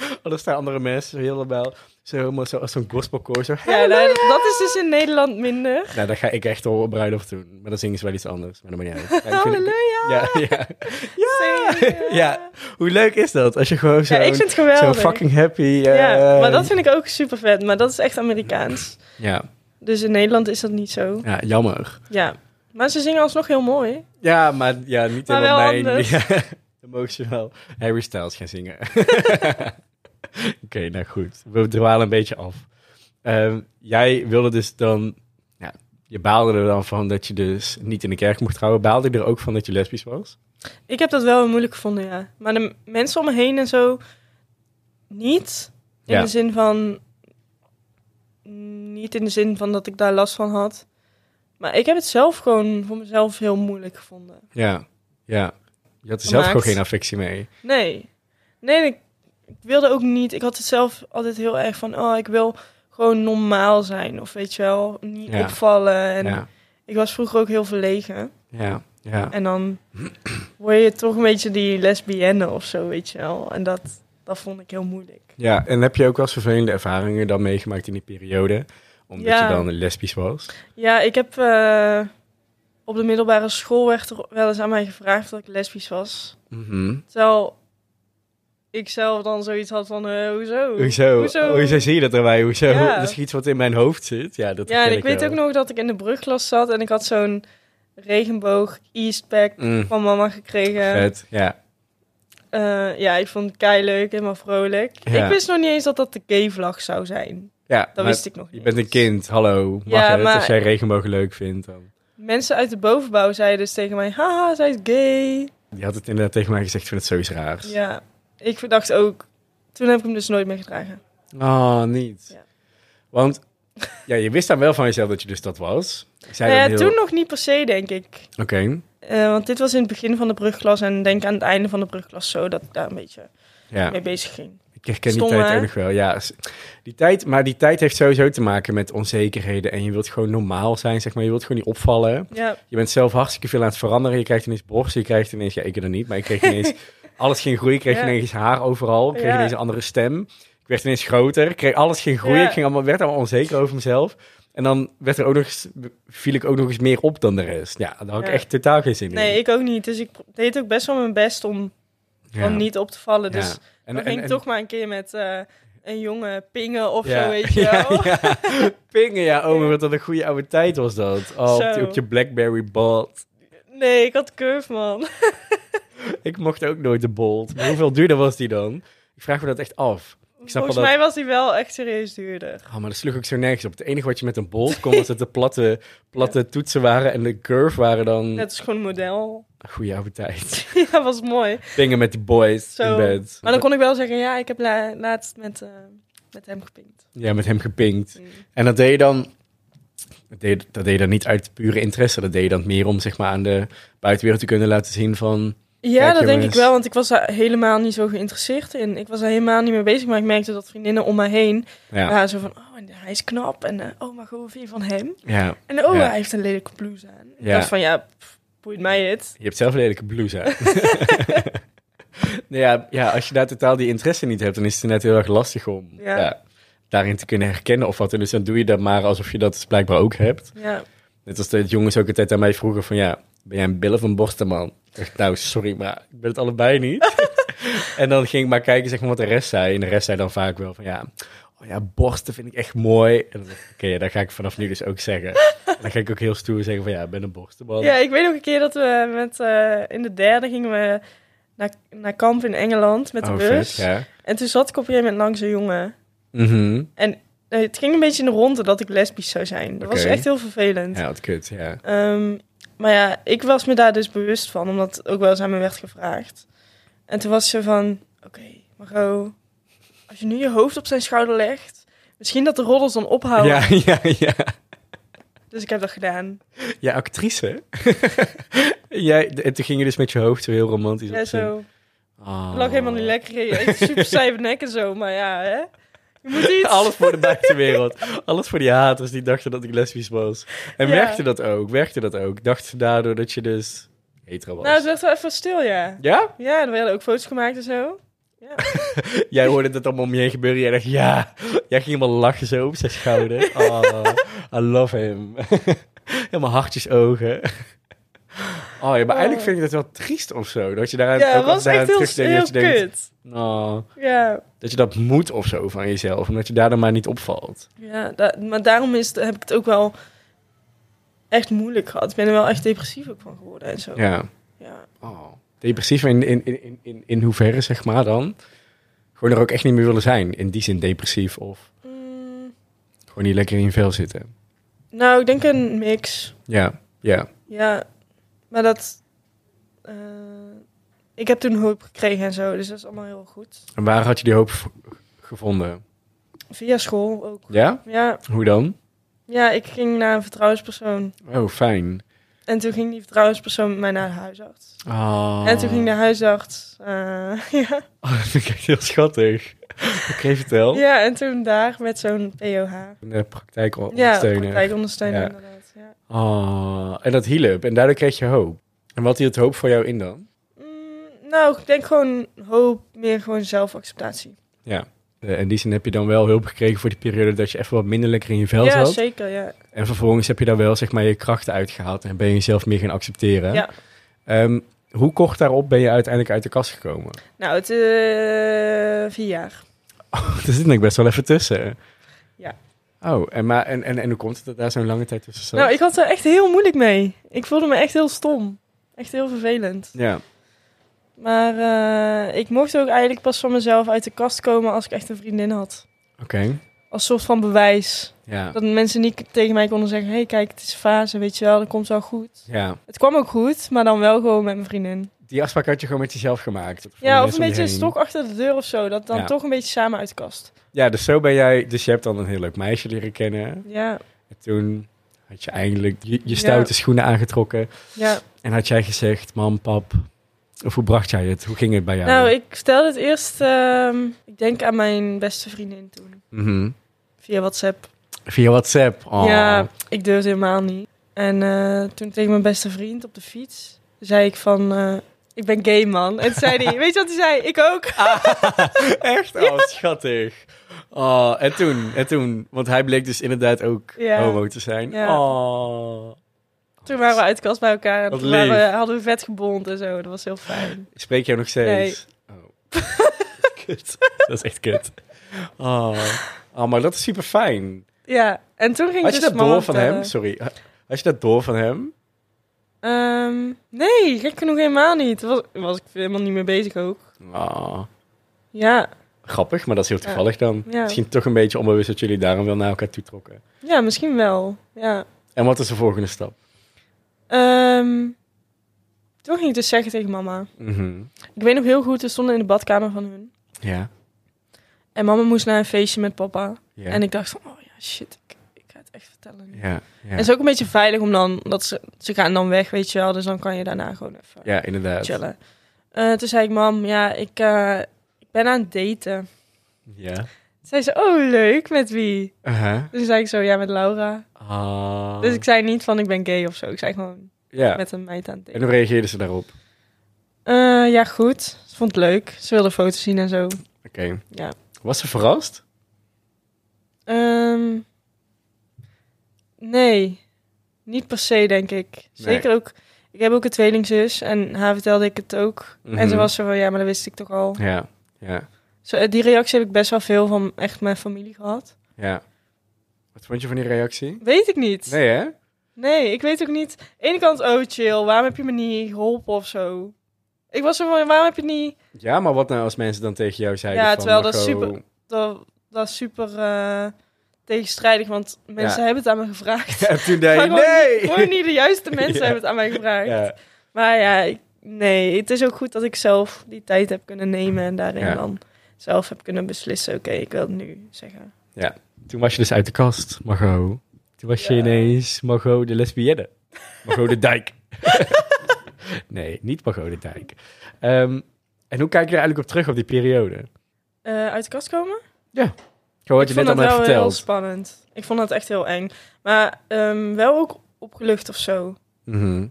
A: Oh, dan staan andere mensen helemaal zo, helemaal zo als zo'n gospelkoor. Zo.
B: Ja, nou, dat, dat is dus in Nederland minder.
A: Nou, dat ga ik echt wel op bruiloft doen. Maar dan zingen ze wel iets anders. Maar dat maakt niet uit.
B: Oh,
A: Ja, ik vind-
B: Halleluja!
A: ja, ja.
B: zingen.
A: Ja. Hoe leuk is dat? Als je gewoon zo,
B: Ja, ik vind het geweldig.
A: zo fucking happy... eh,
B: Ja, maar dat vind ik ook super vet, maar dat is echt Amerikaans.
A: ja.
B: Dus in Nederland is dat niet zo.
A: ja, jammer.
B: Ja. Maar ze zingen alsnog heel mooi.
A: Ja, maar ja, niet
B: Maar
A: helemaal
B: wel
A: mijn...
B: anders.
A: Ja, dan mogen ze wel Harry Styles gaan zingen. Oké, nou goed. We dwalen een beetje af. Ehm, jij wilde dus dan... Ja, je baalde er dan van dat je dus niet in de kerk mocht trouwen. Baalde je er ook van dat je lesbisch was?
B: Ik heb dat wel heel moeilijk gevonden, ja. Maar de m- mensen om me heen en zo niet. In
A: Ja.
B: de zin van. Niet in de zin van dat ik daar last van had. Maar ik heb het zelf gewoon voor mezelf heel moeilijk gevonden.
A: Ja, ja. Je had er zelf gewoon
B: Gemaakt.
A: geen affectie mee.
B: Nee. Nee, ik, ik wilde ook niet. Ik had het zelf altijd heel erg van, oh, ik wil gewoon normaal zijn. Of weet je wel, niet
A: Ja.
B: opvallen. En
A: Ja,
B: ik was vroeger ook heel verlegen.
A: ja, ja.
B: En dan word je toch een beetje die lesbienne of zo, weet je wel. En dat, dat vond ik heel moeilijk.
A: Ja, en heb je ook wel eens vervelende ervaringen dan meegemaakt in die periode? Omdat
B: Ja.
A: je dan lesbisch was?
B: Ja, ik heb eh, op de middelbare school werd er wel eens aan mij gevraagd dat ik lesbisch was.
A: Mhm.
B: Terwijl ik zelf dan zoiets had van, eh, hoezo?
A: Hoezo? Oh, Hoezo? zie je dat erbij? Hoezo?
B: Ja.
A: Dat is iets wat in mijn hoofd zit. Ja, dat
B: Ja, en
A: herken
B: ik weet
A: wel.
B: ook nog dat ik in de brugklas zat en ik had zo'n regenboog Eastpack
A: Mm,
B: van mama gekregen.
A: vet, ja.
B: Eh, ja, ik vond het kei leuk, helemaal vrolijk.
A: Ja.
B: Ik wist nog niet eens dat dat de gay-vlag zou zijn.
A: ja
B: Dat
A: maar
B: wist ik nog niet.
A: je bent een
B: eens.
A: kind, hallo. Mag
B: Ja,
A: het?
B: maar-
A: Als jij regenboog leuk vindt, dan...
B: Mensen uit de bovenbouw zeiden dus tegen mij: Haha, zij is gay.
A: Die had het inderdaad tegen mij gezegd, ik vind het zoiets raars.
B: Ja, ik verdacht ook. Toen heb ik hem dus nooit meer gedragen.
A: Ah, niet.
B: Ja.
A: Want ja, je wist dan wel van jezelf dat je dus dat was. Ik zei
B: Nou ja,
A: dat heel...
B: toen nog niet per se, denk ik.
A: Oké,
B: Eh, want dit was in het begin van de brugklas en denk aan het einde van de brugklas zo dat ik daar een beetje
A: ja.
B: mee bezig ging.
A: Ik herken
B: Stom,
A: die tijd
B: hè?
A: ook nog wel. Ja, s- die tijd, maar die tijd heeft sowieso te maken met onzekerheden. En je wilt gewoon normaal zijn, zeg maar. Je wilt gewoon niet opvallen.
B: Ja,
A: Je bent zelf hartstikke veel aan het veranderen. Je krijgt ineens borsten, je krijgt ineens... Ja, ik er niet, maar ik kreeg ineens... alles ging groeien. Ik kreeg
B: Ja.
A: ineens haar overal. Ik kreeg
B: Ja.
A: ineens een andere stem. Ik werd ineens groter. Ik kreeg alles ging groeien.
B: Ja.
A: Ik ging allemaal, werd allemaal onzeker over mezelf. En dan werd er ook nog eens, viel ik ook nog eens meer op dan de rest. Ja, daar had ik
B: Ja.
A: echt totaal geen zin in.
B: nee, ik ook niet. Dus ik pro- deed ook best wel mijn best om,
A: Ja.
B: om niet op te vallen. Dus
A: Ja. En-
B: dan
A: en-
B: ging ik
A: en-
B: toch maar een keer met eh, een jongen pingen of
A: Ja.
B: zo, weet je
A: Ja,
B: wel.
A: ja. Pingen, ja. Oh, maar wat een goede oude tijd was dat. Oh, op,
B: Zo.
A: op je Blackberry Bolt.
B: Nee, ik had curve, man.
A: Ik mocht ook nooit de Bolt. Maar hoeveel duurder was die dan? Ik vraag me dat echt af. Ik snap wel
B: Volgens
A: dat...
B: mij was die wel echt serieus duurder.
A: Oh, maar dat sloeg ook zo nergens op. Het enige wat je met een Bolt kon, was dat de platte, platte toetsen waren en de curve waren dan...
B: Net als gewoon een model.
A: Goeie oude tijd.
B: ja, was mooi.
A: Pingen met die boys
B: Zo.
A: in bed.
B: Maar dan kon ik wel zeggen, ja, ik heb la- laatst met, eh, met hem gepinkt.
A: Ja, met hem gepinkt.
B: Mm.
A: En dat deed je dan... Dat deed, dat deed je dan niet uit pure interesse. Dat deed je dan meer om zeg maar, aan de buitenwereld te kunnen laten zien van...
B: Ja,
A: Kijk,
B: dat denk ik
A: jongens.
B: wel, want ik was daar helemaal niet zo geïnteresseerd in. Ik was daar helemaal niet mee bezig, maar ik merkte dat vriendinnen om mij heen
A: nou Ja, ja.
B: waren zo van, oh, en hij is knap en eh, oh, maar hoe vind je van hem?
A: ja.
B: En oh,
A: Ja.
B: hij heeft een lelijke blouse aan. Ik
A: Ja.
B: dacht van, ja, pff, boeit mij het.
A: Je hebt zelf een lelijke blouse aan. nou ja, ja, als je daar totaal die interesse niet hebt, dan is het net heel erg lastig om
B: Ja.
A: ja, daarin te kunnen herkennen of wat. En dus dan doe je dat maar alsof je dat dus blijkbaar ook hebt.
B: Ja,
A: Net als dat jongens ook altijd aan mij vroegen van ja, ben jij een billen of een borstenman? Ik dacht, nou sorry, maar ik ben het allebei niet. en dan ging ik maar kijken zeg maar, wat de rest zei. En de rest zei dan vaak wel van ja, oh ja borsten vind ik echt mooi. En dan dacht ik, oké, ja, dat ga ik vanaf nu dus ook zeggen. En dan ga ik ook heel stoer zeggen van ja, ik ben een borstenman.
B: ja ik weet nog een keer dat we met, eh, in de derde gingen we naar, naar kamp in Engeland met de
A: Oh,
B: bus.
A: vet, ja.
B: En toen zat ik op een gegeven moment langs een jongen.
A: Mhm.
B: Eh, het ging een beetje in de ronde dat ik lesbisch zou zijn. Dat was
A: Oké.
B: echt heel vervelend.
A: Ja, wat kut, ja.
B: Ehm, maar ja, ik was me daar dus bewust van, omdat het ook wel eens aan me werd gevraagd. En toen was ze van, oké, Margot, als je nu je hoofd op zijn schouder legt, misschien dat de roddels dan ophouden.
A: Ja, ja, ja.
B: Dus ik heb dat gedaan.
A: Ja, actrice. Jij, en toen ging je dus met je hoofd zo heel romantisch
B: Ja,
A: op z'n-
B: zo.
A: Ah.
B: Het lag helemaal niet lekker in. Echt super stijve nek en zo, maar ja, hè. Je moet iets.
A: Alles voor de buitenwereld. Alles voor die haters die dachten dat ik lesbisch was. En
B: Ja.
A: werkte dat ook? Werkte dat ook? Dacht ze daardoor dat je dus hetero was?
B: Nou, het werd wel even stil, ja.
A: Ja?
B: Ja, er werden ook foto's gemaakt en zo.
A: Jij hoorde dat allemaal om je heen gebeuren. Jij dacht, ja. Jij ging helemaal lachen zo op zijn schouder. Oh, I love him. helemaal hartjes ogen. Oh ja, maar eigenlijk vind ik dat wel triest of zo. Dat je daaraan,
B: Ja,
A: ook
B: het
A: als
B: was
A: daaraan
B: echt heel,
A: terugdenkt,
B: heel
A: dat je denkt,
B: kut.
A: oh,
B: Ja,
A: dat je dat moet of zo van jezelf. Omdat je daar dan maar niet opvalt.
B: ja da- maar daarom is het, heb ik het ook wel echt moeilijk gehad. Ik ben er wel echt depressief ook van geworden en zo. Ja.
A: Ja. Oh. Depressief in, in, in, in- in, in hoeverre, zeg maar dan? Gewoon er ook echt niet meer willen zijn. In die zin depressief of
B: Mm,
A: gewoon niet lekker in je vel zitten.
B: nou, ik denk een mix.
A: Ja, ja.
B: Ja, maar dat... eh, ik heb toen hulp gekregen en zo, dus dat is allemaal heel goed.
A: En waar had je die hoop v- gevonden?
B: Via school ook.
A: Ja?
B: Ja,
A: Hoe dan?
B: ja ik ging naar een vertrouwenspersoon.
A: Oh, fijn.
B: En toen ging die vertrouwenspersoon met mij naar de huisarts.
A: Oh.
B: En toen ging de huisarts... eh, ja.
A: Oh, dat vind ik echt heel schattig. Oké, vertel.
B: ja, en toen daar met zo'n POH.
A: In de praktijk
B: Ja,
A: ondersteunen.
B: praktijk ondersteunen
A: Ja.
B: inderdaad. Ja.
A: Oh, en dat hielp. En daardoor kreeg je hoop. En wat hield hoop voor jou in dan?
B: Mm, nou, ik denk gewoon hoop, meer gewoon zelfacceptatie.
A: Eh, In die zin heb je dan wel hulp gekregen voor die periode dat je even wat minder lekker in je vel
B: ja,
A: zat.
B: zeker, ja.
A: En vervolgens heb je daar wel zeg maar je krachten uitgehaald en ben je jezelf meer gaan accepteren.
B: Ja.
A: Ehm, hoe kort daarop ben je uiteindelijk uit de kast gekomen?
B: Nou, het eh vier jaar.
A: Oh, er zit ik best wel even tussen.
B: Ja.
A: Oh, en, maar, en, en, en hoe komt het dat daar zo'n lange tijd tussen zat?
B: Nou, ik had er echt heel moeilijk mee. Ik voelde me echt heel stom. Echt heel vervelend.
A: Ja,
B: Maar eh, ik mocht ook eigenlijk pas van mezelf uit de kast komen als ik echt een vriendin had.
A: oké.
B: Als soort van bewijs.
A: Ja.
B: Dat mensen niet tegen mij konden zeggen: hé, hey, kijk, het is een fase, weet je wel, dat komt wel goed.
A: ja.
B: Het kwam ook goed, maar dan wel gewoon met mijn vriendin.
A: Die afspraak had je gewoon met jezelf gemaakt. Van de
B: Ja, of
A: mensen om
B: een
A: je
B: beetje een
A: heen.
B: stok achter de deur of zo. Dat dan
A: Ja.
B: toch een beetje samen uit de kast.
A: Ja, dus zo ben jij. Dus je hebt dan een heel leuk meisje leren kennen.
B: Ja,
A: En toen had je eindelijk je, je
B: Ja.
A: stoute schoenen aangetrokken.
B: ja.
A: En had jij gezegd, mam, pap. Of hoe bracht jij het? Hoe ging het bij jou?
B: Nou, ik stelde het eerst, ehm, ik denk aan mijn beste vriendin toen.
A: Mhm.
B: Via WhatsApp.
A: Via WhatsApp. Oh.
B: Ja, ik durfde helemaal niet. En eh, toen tegen mijn beste vriend op de fiets, zei ik van, eh, ik ben gay man. En toen zei hij, weet je wat hij zei? Ik ook.
A: Echt? Oh, wat schattig. Oh, en toen, en toen, want hij bleek dus inderdaad ook
B: Ja.
A: homo te zijn.
B: Ja.
A: Oh.
B: Toen waren we uit de kast bij elkaar en
A: Wat
B: toen waren we-
A: lief.
B: hadden we vet gebond en zo. Dat was heel fijn.
A: Spreek jij nog steeds? Oh. kut. Dat is echt kut. Oh. oh, maar dat is super fijn.
B: Ja, en toen ging ik
A: Had je
B: dus
A: dat
B: mama
A: door van hem?
B: vertellen.
A: Sorry. Had je dat door van hem?
B: Ehm, nee, gek genoeg helemaal niet. Daar was, was ik helemaal niet mee bezig ook.
A: Oh.
B: Ja,
A: Grappig, maar dat is heel toevallig dan.
B: Ja.
A: Misschien toch een beetje onbewust dat jullie daarom wel naar elkaar toe trokken.
B: ja misschien wel. Ja.
A: En wat is de volgende stap?
B: Ehm, toen ging ik dus zeggen tegen mama.
A: Mhm.
B: Ik weet nog heel goed, we stonden in de badkamer van hun.
A: Ja.
B: En mama moest naar een feestje met papa.
A: Ja.
B: En ik dacht van, oh ja, shit, ik, ik ga het echt vertellen.
A: ja. ja.
B: En het is ook een beetje veilig om dan, dat ze, ze gaan dan weg, weet je wel. Dus dan kan je daarna gewoon even
A: Ja, inderdaad.
B: chillen. Eh, toen zei ik, mam, ja, ik, eh, ik ben aan het daten.
A: Ja.
B: Toen zei ze, oh leuk, met wie?
A: Uh-huh.
B: Dus toen zei ik zo, ja, met Laura.
A: Ah.
B: Dus ik zei niet van, ik ben gay of zo. Ik zei gewoon,
A: ja.
B: met een meid aan het
A: En
B: daten.
A: hoe reageerden ze daarop? Oké.
B: Eh, ja, goed. Ze vond het leuk. Ze wilde foto's zien en zo. Ja.
A: Was ze verrast?
B: Ehm, nee, niet per se, denk ik. Zeker ook. Ik heb ook een tweelingzus en haar vertelde ik het ook.
A: Mhm.
B: En ze was zo van ja, maar dat wist ik toch al.
A: Ja. Ja.
B: Zo, eh, die reactie heb ik best wel veel van echt mijn familie gehad.
A: Ja. Wat vond je van die reactie?
B: Weet ik niet. Nee,
A: Nee, hè?
B: ik weet ook niet. Aan de ene kant, oh chill, waarom heb je me niet geholpen of zo? Ik was zo van, waarom heb je niet...
A: Ja, maar wat nou als mensen dan tegen jou zeiden
B: Ja,
A: van,
B: terwijl dat
A: Margot,
B: super- Dat, dat is super eh, tegenstrijdig, want mensen hebben het aan me gevraagd.
A: Ja, toen zei
B: Maar
A: je, nee!
B: gewoon niet- gewoon niet de juiste mensen
A: Ja.
B: hebben het aan mij gevraagd.
A: Ja.
B: Maar ja, ik- nee, het is ook goed dat ik zelf die tijd heb kunnen nemen en daarin
A: Ja.
B: dan zelf heb kunnen beslissen. Oké, ik wil het nu zeggen.
A: Toen was je dus uit de kast, Margot. Toen was je
B: Ja.
A: ineens Margot de lesbienne. Margot de dijk. nee, niet Margot de dijk. Ehm, en hoe kijk je er eigenlijk op terug op die periode?
B: Eh, uit de kast komen?
A: Gewoon wat je
B: ik
A: net
B: vond
A: al
B: dat
A: hebt
B: wel heel
A: verteld.
B: spannend. Ik vond dat echt heel eng. Maar ehm, wel ook opgelucht of zo.
A: Mhm.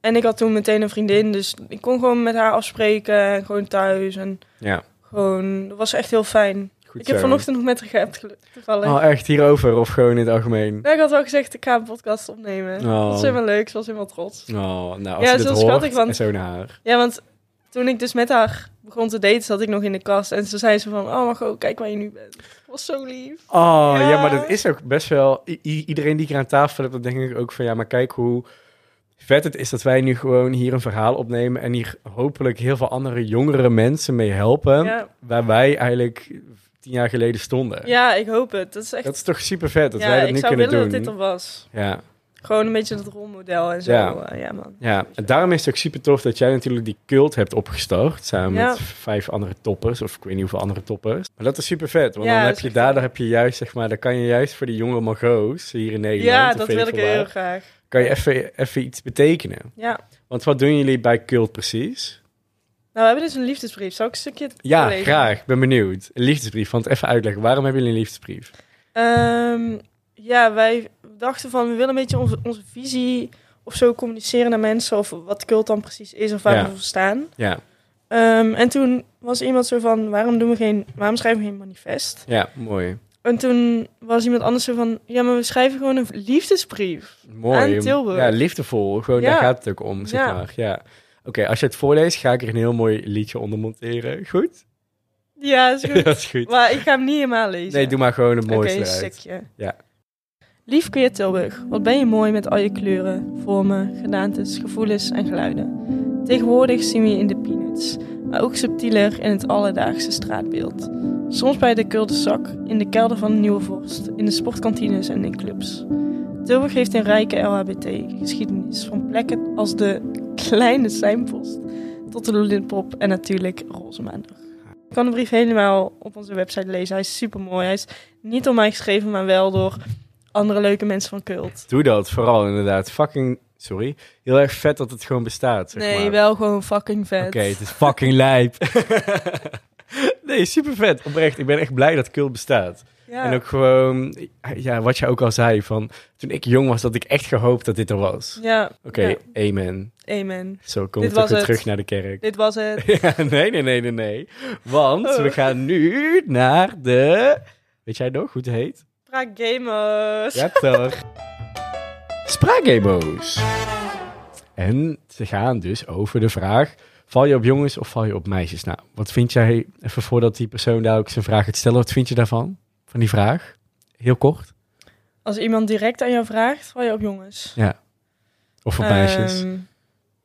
B: En ik had toen meteen een vriendin, dus ik kon gewoon met haar afspreken en gewoon thuis. En
A: Ja,
B: gewoon, dat was echt heel fijn.
A: goed
B: ik heb
A: zo.
B: vanochtend nog met haar geappt, gelu- toevallig.
A: Oh, echt hierover of gewoon in het algemeen?
B: Nou, ik had wel gezegd, ik ga een podcast opnemen.
A: Oh.
B: Dat was helemaal leuk, ze was helemaal trots.
A: Oh, nou, als
B: Ja,
A: je
B: zo
A: dit
B: schat
A: hoort,
B: ik, want-
A: en zo naar haar.
B: Ja, want toen ik dus met haar begon te daten, zat ik nog in de kast. En ze zei ze van, oh Margot, kijk waar je nu bent. was zo lief.
A: Oh, ja.
B: Ja.
A: maar dat is ook best wel... i- i- iedereen die ik hier aan tafel heb, dan denk ik ook van... Ja, maar kijk hoe vet het is dat wij nu gewoon hier een verhaal opnemen... en hier hopelijk heel veel andere jongere mensen mee helpen...
B: Ja,
A: waar wij eigenlijk tien jaar geleden stonden.
B: ja ik hoop het. Dat is echt...
A: Dat is toch super vet dat
B: ja,
A: wij dat
B: ik
A: nu
B: zou
A: kunnen
B: willen
A: doen.
B: dat dit er was.
A: Ja.
B: Gewoon een beetje dat rolmodel en zo. Eh,
A: Ja.
B: Ja, ja man.
A: Ja, en daarom is het ook super tof dat jij natuurlijk die cult hebt opgestart. Samen
B: Ja.
A: met vijf andere toppers, of ik weet niet hoeveel andere toppers. Maar dat is super vet, want
B: Ja,
A: dan
B: dat
A: heb
B: is
A: je
B: echt
A: daar,
B: vet.
A: daar heb je juist, zeg maar, dan kan je juist voor die jonge mago's hier in Nederland.
B: Ja,
A: of
B: dat
A: weet
B: wil ik
A: veel waar,
B: heel graag.
A: Kan je even, even iets betekenen?
B: Ja.
A: Want wat doen jullie bij cult precies?
B: Nou, we hebben dus een liefdesbrief. Zou ik een stukje
A: Ja,
B: voorlezen?
A: graag. Ben benieuwd. Een liefdesbrief, want even uitleggen. Waarom hebben jullie een liefdesbrief?
B: Ehm, ja, wij dachten van we willen een beetje onze, onze visie of zo communiceren naar mensen. Of wat cult dan precies is of waar
A: Ja.
B: we voor staan.
A: Ja,
B: Ehm, en toen was iemand zo van waarom, doen we geen, waarom schrijven we geen manifest?
A: ja mooi.
B: En toen was iemand anders zo van ja, maar we schrijven gewoon een liefdesbrief.
A: Mooi.
B: Aan Tilburg.
A: Ja, liefdevol. Gewoon,
B: Ja.
A: daar gaat het ook om, zeg
B: Ja.
A: maar. Ja. Oké, als je het voorleest, ga ik er een heel mooi liedje onder monteren. Goed?
B: Ja, is goed.
A: dat is goed.
B: Maar ik ga hem niet helemaal lezen.
A: Nee, doe maar gewoon het
B: Oké,
A: mooiste
B: een
A: eruit.
B: stukje.
A: Ja.
B: Lief queer Tilburg, wat ben je mooi met al je kleuren, vormen, gedaantes, gevoelens en geluiden. Tegenwoordig zien we je in de peanuts, maar ook subtieler in het alledaagse straatbeeld. Soms bij de Kulde Zak, in de kelder van de Nieuwe Vorst, in de sportkantines en in clubs. Tilburg heeft een rijke LHBT-geschiedenis, van plekken als de Kleine Seinpost tot de Lullinpop en natuurlijk Roze Maandag. Je kan de brief helemaal op onze website lezen, hij is super mooi. Hij is niet door mij geschreven, maar wel door andere leuke mensen van cult.
A: Doe dat vooral inderdaad. Fucking, sorry. Heel erg vet dat het gewoon bestaat. Zeg
B: Nee,
A: maar.
B: wel gewoon fucking vet.
A: Oké, het is fucking lijp. nee, super vet. Oprecht, ik ben echt blij dat Kult bestaat.
B: Ja.
A: En ook gewoon, ja, wat je ook al zei, van toen ik jong was, dat ik echt gehoopt dat dit er was.
B: ja.
A: Oké, amen.
B: Ja. Amen.
A: Zo komt
B: Dit
A: het ook
B: was
A: weer
B: het.
A: terug naar de kerk.
B: Dit was het.
A: Ja, nee, nee, nee, nee, nee. Want
B: Oh.
A: we gaan nu naar de... Weet jij nog hoe het heet?
B: Praat gamers.
A: Ja, toch. Spraakgameo's. En ze gaan dus over de vraag... Val je op jongens of val je op meisjes? Nou, wat vind jij... Even voordat die persoon daar ook zijn vraag gaat stellen... Wat vind je daarvan? Van die vraag? Heel kort.
B: Als iemand direct aan jou vraagt, val je op jongens.
A: Of op meisjes?
B: Ehm,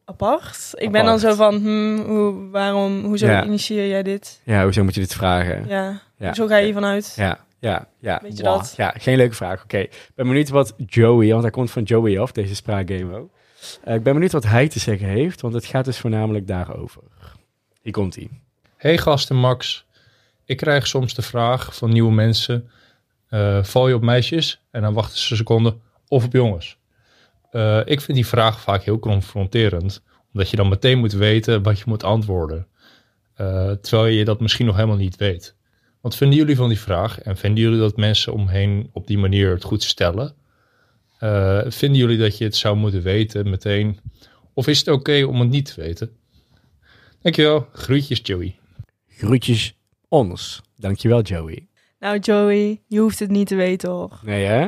B: apart. Ik ben dan
A: Apart.
B: zo van, hmm, hoe, waarom, hoezo
A: Ja.
B: initieer jij dit?
A: Ja, hoezo moet je dit vragen?
B: Ja.
A: Ja.
B: Zo ga je hiervan uit.
A: Ja, ja, ja.
B: Weet je
A: Wah.
B: dat?
A: Ja, geen leuke vraag. Oké, ik ben benieuwd wat Joey, want hij komt van Joey af, deze spraakgame ook. Eh, ik ben benieuwd wat hij te zeggen heeft, want het gaat dus voornamelijk daarover. Hier komt hij.
C: Hey gasten Max, ik krijg soms de vraag van nieuwe mensen: eh, val je op meisjes? En dan wachten ze een seconde of op jongens. Eh, ik vind die vraag vaak heel confronterend, omdat je dan meteen moet weten wat je moet antwoorden, Eh, terwijl je dat misschien nog helemaal niet weet. Wat vinden jullie van die vraag en vinden jullie dat mensen omheen op die manier het goed stellen? Eh, vinden jullie dat je het zou moeten weten meteen? Of is het oké om het niet te weten? Dankjewel, groetjes Joey.
A: Groetjes ons. Dankjewel, Joey.
B: Nou Joey, je hoeft het niet te weten hoor.
A: Nee, hè?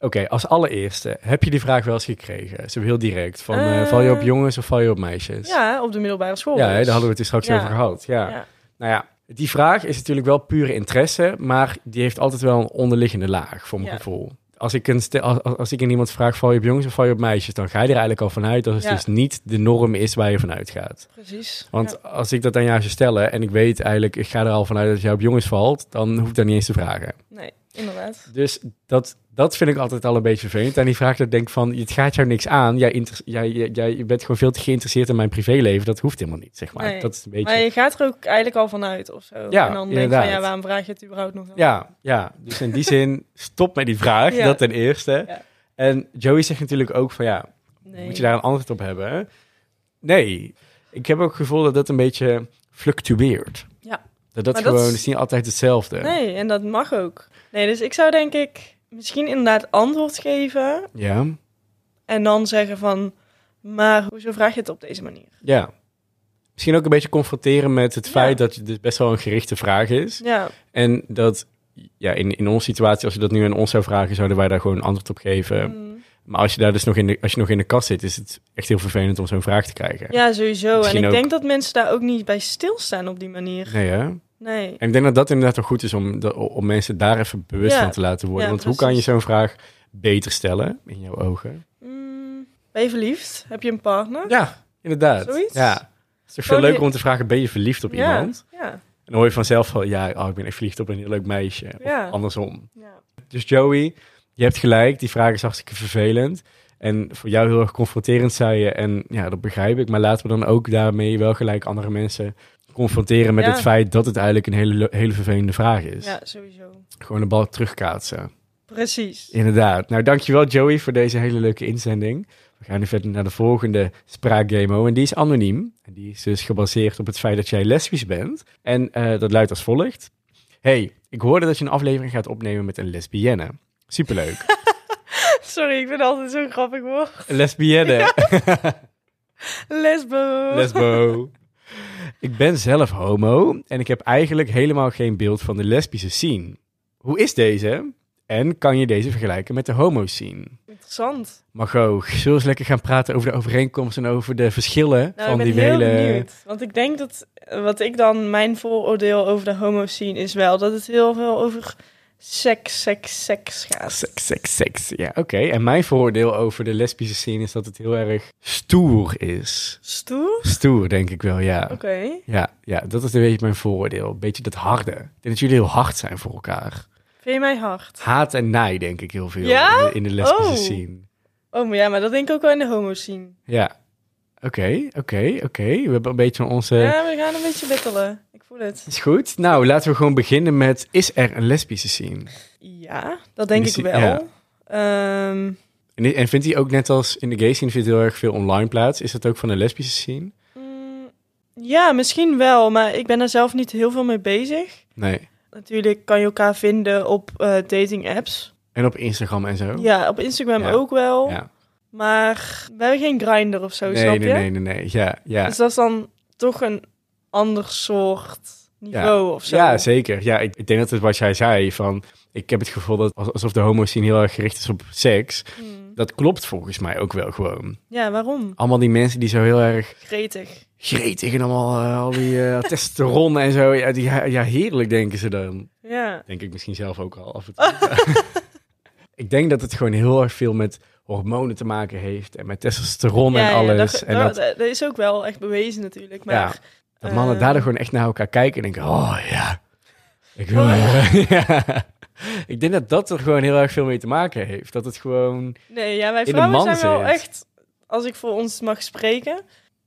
A: Oké,
B: Nee.
A: als allereerste, heb je die vraag wel eens gekregen? Zo heel direct, van eh, val je op
B: Eh.
A: jongens of val je op meisjes?
B: Ja, op de middelbare school.
A: Dus- Ja, hè, daar
B: dus.
A: hadden we het dus straks
B: Ja.
A: over gehad. Ja.
B: Ja.
A: Nou ja, die vraag is natuurlijk wel pure interesse, maar die heeft altijd wel een onderliggende laag, voor mijn
B: Ja.
A: gevoel. Als ik, een ste- als, als- als ik aan iemand vraag, val je op jongens of val je op meisjes, dan ga je er eigenlijk al vanuit dat het
B: Ja.
A: dus niet de norm is waar je vanuit gaat.
B: Precies.
A: Want
B: Ja.
A: als ik dat aan jou zou stellen en ik weet eigenlijk, ik ga er al vanuit dat jij op jongens valt, dan hoef ik daar niet eens te vragen.
B: Nee, inderdaad.
A: Dus dat, dat vind ik altijd al een beetje vervelend. En die vraag dat ik denk van, het gaat jou niks aan. Jij, inter- jij, jij, jij bent gewoon veel te geïnteresseerd in mijn privéleven. Dat hoeft helemaal niet, zeg maar.
B: Nee.
A: Dat is een beetje...
B: Maar je gaat er ook eigenlijk al vanuit of zo.
A: Ja,
B: en dan denk je
A: inderdaad.
B: van, ja, waarom vraag je het überhaupt nog? aan?
A: Ja, ja. Dus in die zin, stop met die vraag.
B: Ja.
A: Dat ten eerste.
B: Ja.
A: En Joey zegt natuurlijk ook van ja,
B: Nee.
A: moet je daar een antwoord op hebben? hè? Nee. Ik heb ook het gevoel dat dat een beetje fluctueert.
B: Ja.
A: Dat dat
B: Maar dat
A: gewoon,
B: is-
A: het is niet altijd hetzelfde.
B: Nee, en dat mag ook. Nee, dus ik zou denk ik misschien inderdaad antwoord geven
A: Ja,
B: en dan zeggen van, maar hoezo vraag je het op deze manier?
A: ja. Misschien ook een beetje confronteren met het
B: Ja.
A: feit dat het dus best wel een gerichte vraag is.
B: Ja,
A: En dat, ja, in, in onze situatie, als je dat nu aan ons zou vragen, zouden wij daar gewoon een antwoord op geven.
B: mm.
A: Maar als je daar dus nog in de, als je nog in de kast zit, is het echt heel vervelend om zo'n vraag te krijgen.
B: ja sowieso. En
A: Misschien
B: ik
A: ook-
B: denk dat mensen daar ook niet bij stilstaan op die manier.
A: Nee, hè?
B: Nee,
A: En ik denk dat dat inderdaad wel goed is om, de- om mensen daar even bewust
B: Ja.
A: van te laten worden.
B: Ja,
A: Want hoe
B: precies.
A: kan je zo'n vraag beter stellen in jouw ogen?
B: Mm, ben je verliefd? Heb je een partner?
A: Ja, inderdaad.
B: Zoiets?
A: Ja. Het is toch veel leuker
B: Gewoon je-
A: om te vragen, ben je verliefd op
B: ja.
A: iemand?
B: Ja,
A: En dan hoor je vanzelf van, ja, oh, ik ben echt verliefd op een heel leuk meisje. Of
B: Ja.
A: andersom.
B: ja.
A: Dus Joey, Je hebt gelijk, die vraag is hartstikke vervelend. En voor jou heel erg confronterend, zei je. En ja, dat begrijp ik. Maar laten we dan ook daarmee wel gelijk andere mensen confronteren met
B: Ja.
A: het feit dat het eigenlijk een hele, hele vervelende vraag is.
B: Ja, sowieso.
A: Gewoon de bal terugkaatsen.
B: Precies.
A: Inderdaad. Nou, dankjewel Joey voor deze hele leuke inzending. We gaan nu verder naar de volgende spraakgamo. En die is anoniem. En die is dus gebaseerd op het feit dat jij lesbisch bent. En eh, dat luidt als volgt. Hey, ik hoorde dat je een aflevering gaat opnemen met een lesbienne. Superleuk.
B: Sorry, ik vind altijd zo'n grappig woord.
A: lesbienne.
B: Lesbo.
A: Lesbo. Ik ben zelf homo en ik heb eigenlijk helemaal geen beeld van de lesbische scene. Hoe is deze? En kan je deze vergelijken met de homo scene?
B: Interessant.
A: Margot, zullen we eens lekker gaan praten over de overeenkomsten en over de verschillen
B: Nou,
A: van
B: ik ben
A: die
B: heel
A: hele...
B: benieuwd. Want ik denk dat, eh, wat ik dan, mijn vooroordeel over de homo scene is wel dat het heel veel over seks, seks, seks gaat.
A: Seks, seks, seks. Ja, oké. En mijn voordeel over de lesbische scene is dat het heel erg stoer is.
B: Stoer?
A: Stoer, denk ik wel, ja.
B: Oké.
A: Ja, ja, dat is een beetje mijn vooroordeel. Een beetje dat harde. Ik denk dat jullie heel hard zijn voor elkaar.
B: Vind je mij hard?
A: Haat en naai, denk ik, heel veel
B: Ja?
A: in, de, in de lesbische
B: Oh.
A: scene.
B: Oh, maar ja, maar dat denk ik ook wel in de homo scene.
A: Ja. Oké, oké, oké. We hebben een beetje onze...
B: Ja, we gaan een beetje bittelen. Ik voel het.
A: Is goed. Nou, laten we gewoon beginnen met... Is er een lesbische scene?
B: Ja, dat denk ik
A: Missie-
B: wel. Ehm,
A: En, en vindt hij ook net als in de gay scene vindt heel erg veel online plaats? Is dat ook van de lesbische scene?
B: mm, ja, misschien wel, maar ik ben er zelf niet heel veel mee bezig.
A: Nee.
B: Natuurlijk kan je elkaar vinden op eh, dating apps.
A: En op Instagram en zo?
B: Ja, op Instagram
A: Oh. Ja.
B: ook wel.
A: Ja.
B: Maar we hebben geen grinder of zo, snap
A: Nee, nee,
B: je?
A: nee, nee, nee. Ja, ja.
B: Dus dat is dan toch een ander soort niveau of zo.
A: ja zeker. Ja, ik, ik denk dat het wat jij zei van... Ik heb het gevoel dat als- alsof de homo scene heel erg gericht is op seks.
B: Hmm.
A: Dat klopt volgens mij ook wel gewoon.
B: Ja, waarom?
A: Allemaal die mensen die zo heel erg
B: Gretig.
A: gretig en allemaal eh, al die eh, testosteron en zo. Ja, die, ja, heerlijk denken ze dan.
B: Ja.
A: Denk ik misschien zelf ook al af en toe. ik denk dat het gewoon heel erg veel met hormonen te maken heeft. En met testosteron
B: ja,
A: en
B: ja,
A: alles.
B: dat,
A: en
B: dat,
A: dat,
B: dat is ook wel echt bewezen natuurlijk. Maar
A: ja, dat mannen
B: eh,
A: daardoor gewoon echt naar elkaar kijken en denken... Oh ja, ik wil...
B: Oh,
A: ja. Ik denk dat dat er gewoon heel erg veel mee te maken heeft. Dat het gewoon...
B: Nee, ja, wij
A: de
B: vrouwen
A: man
B: zijn wel
A: zit.
B: echt, als ik voor ons mag spreken,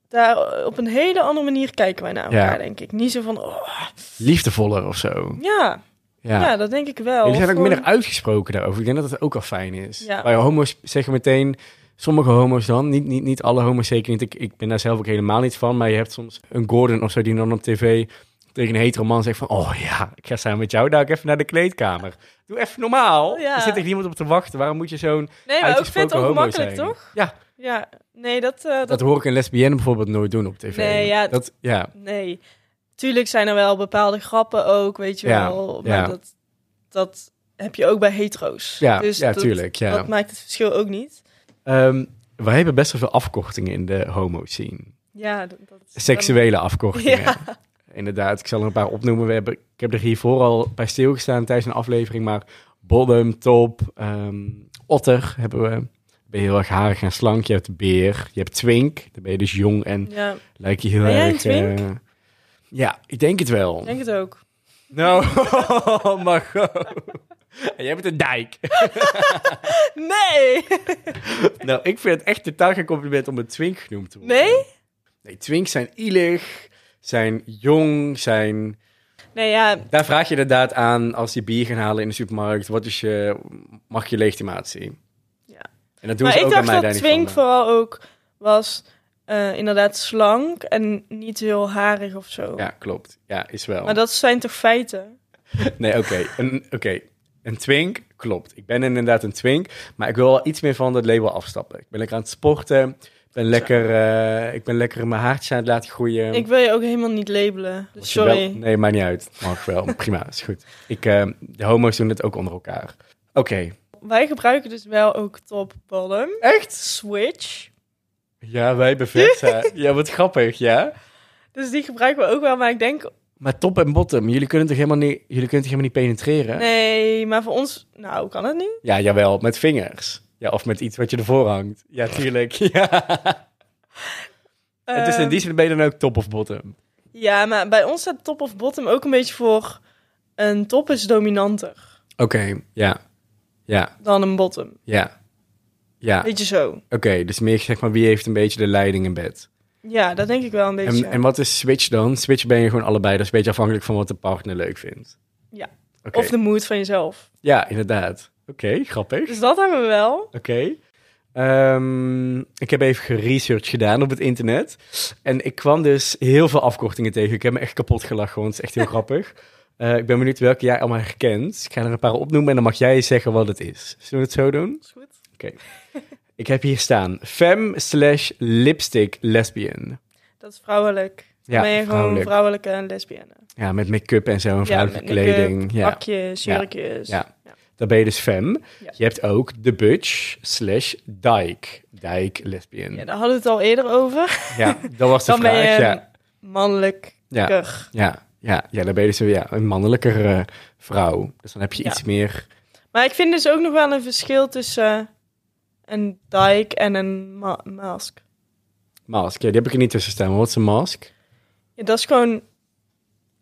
B: daar op een hele andere manier kijken wij naar
A: Ja.
B: elkaar, denk ik. Niet zo van, oh,
A: liefdevoller of zo.
B: ja,
A: Ja.
B: ja. dat denk ik wel.
A: Jullie zijn ook
B: Gewoon-
A: minder uitgesproken daarover. Ik denk dat het ook al fijn is.
B: Ja.
A: Bij homo's zeggen meteen, sommige homo's dan, niet, niet, niet alle homo's zeker niet. Ik, ik ben daar zelf ook helemaal niet van, maar je hebt soms een Gordon of zo die dan op tv tegen een hetero man zegt van, oh ja, ik ga samen met jou daar ook even naar de kleedkamer. Doe even normaal.
B: Ja.
A: Er zit echt niemand op te wachten. Waarom moet je zo'n
B: Nee, maar ook
A: uitgesproken
B: vindt
A: homo
B: ook makkelijk,
A: zijn?
B: toch?
A: Ja,
B: Ja, nee, dat... eh, dat,
A: dat hoor ik een lesbienne bijvoorbeeld nooit doen op tv.
B: Nee, ja.
A: Dat, ja.
B: Nee, tuurlijk zijn er wel bepaalde grappen ook, weet je
A: Ja,
B: wel. Maar
A: ja.
B: dat, dat heb je ook bij hetero's.
A: Ja,
B: dus
A: ja,
B: dat,
A: tuurlijk. Ja.
B: dat maakt het verschil ook niet.
A: Ehm, wij hebben best wel veel afkortingen in de homo-scene.
B: Ja, dat, dat is-
A: Seksuele afkortingen.
B: Ehm, Ja.
A: Inderdaad, ik zal er een paar opnoemen. We hebben, ik heb er hiervoor al bij stilgestaan tijdens een aflevering, maar bottom, top, ehm, otter hebben we. Ben je heel erg harig en slank. Je hebt beer, je hebt twink. Dan ben je dus jong en
B: Ja,
A: lijk je heel
B: Ben jij een
A: erg...
B: twink?
A: eh, ja, ik denk het wel.
B: ik denk het ook.
A: Nou, oh, Margot. En jij bent een dijk.
B: Nee!
A: nou, ik vind het echt totaal geen compliment om een twink genoemd te worden.
B: Nee?
A: Nee, twinks zijn ilig, zijn jong, zijn...
B: Nee, ja,
A: Daar vraag je inderdaad aan als je bier gaan halen in de supermarkt. Wat is je, mag je legitimatie?
B: Ja.
A: En dat doen
B: maar
A: ze
B: ik
A: ook aan mij
B: dacht dat
A: daar niet
B: Twink
A: van. eh.
B: vooral ook was eh, inderdaad slank en niet heel harig of zo.
A: Ja, klopt. Ja, is wel.
B: Maar dat zijn toch feiten?
A: Nee, oké. Een, oké. een twink, klopt. Ik ben inderdaad een twink. Maar ik wil wel iets meer van dat label afstappen. Ik ben lekker aan het sporten. Ik ben lekker, eh, ik ben lekker mijn haartje aan het laten groeien.
B: Ik wil je ook helemaal niet labelen. Dus
A: Als je wel-
B: sorry.
A: nee, maakt niet uit. Mag wel. Prima, is goed. Ik, eh, de homo's doen het ook onder elkaar. Oké.
B: Wij gebruiken dus wel ook top bottom.
A: Echt?
B: Switch.
A: Ja, wij bevechten. ja, wat grappig, ja?
B: Dus die gebruiken we ook wel, maar ik denk...
A: Maar top en bottom, jullie kunnen toch helemaal niet, jullie kunnen toch helemaal niet penetreren?
B: Nee, maar voor ons... Nou, kan het niet?
A: Ja, jawel, met vingers. Ja, of met iets wat je ervoor hangt. Ja, tuurlijk. Ja. En dus in
B: Ehm,
A: die zin ben je dan ook top of bottom.
B: Ja, maar bij ons staat top of bottom ook een beetje voor... Een top is dominanter.
A: Oké, ja. Ja,
B: dan een bottom.
A: ja. Ja, oké.
B: Beetje zo.
A: dus meer zeg maar wie heeft een beetje de leiding in bed.
B: Ja, dat denk ik wel een beetje.
A: En, en wat is switch dan? Switch ben je gewoon allebei. Dat is een beetje afhankelijk van wat de partner leuk vindt.
B: Ja.
A: Oké.
B: Of de mood van jezelf.
A: Ja, inderdaad. Oké, grappig.
B: Dus dat hebben we wel.
A: Oké. Ehm, ik heb even geresearch gedaan op het internet. En ik kwam dus heel veel afkortingen tegen. Ik heb me echt kapot gelachen, want het is echt heel grappig. Eh, ik ben benieuwd welke jij allemaal herkent. Ik ga er een paar opnoemen en dan mag jij zeggen wat het is. Zullen we het zo doen?
B: Dat is goed.
A: Ik heb hier staan. Femme slash lipstick lesbian.
B: Dat is vrouwelijk. Dan
A: Ja,
B: ben je gewoon
A: vrouwelijk.
B: vrouwelijke en lesbienne.
A: Ja, met make-up en zo en vrouwelijke
B: met make-up,
A: kleding. Ja.
B: Pakjes, jurkjes.
A: Ja. Dan ben je dus femme.
B: Ja.
A: Je hebt ook de butch slash dyke. Dyke lesbian.
B: Ja,
A: Ja,
B: daar hadden we het al eerder over.
A: dat was de
B: Dan
A: vraag.
B: ben je
A: ja.
B: mannelijker.
A: Ja. Ja, ja, ja dan ben je dus weer, ja, een mannelijker eh, vrouw. Dus dan heb je
B: Ja.
A: iets meer...
B: Maar ik vind dus ook nog wel een verschil tussen eh, een dike en een ma- mask.
A: Mask, ja, die heb ik er niet tussen staan. maar Wat is een mask?
B: Ja, dat is gewoon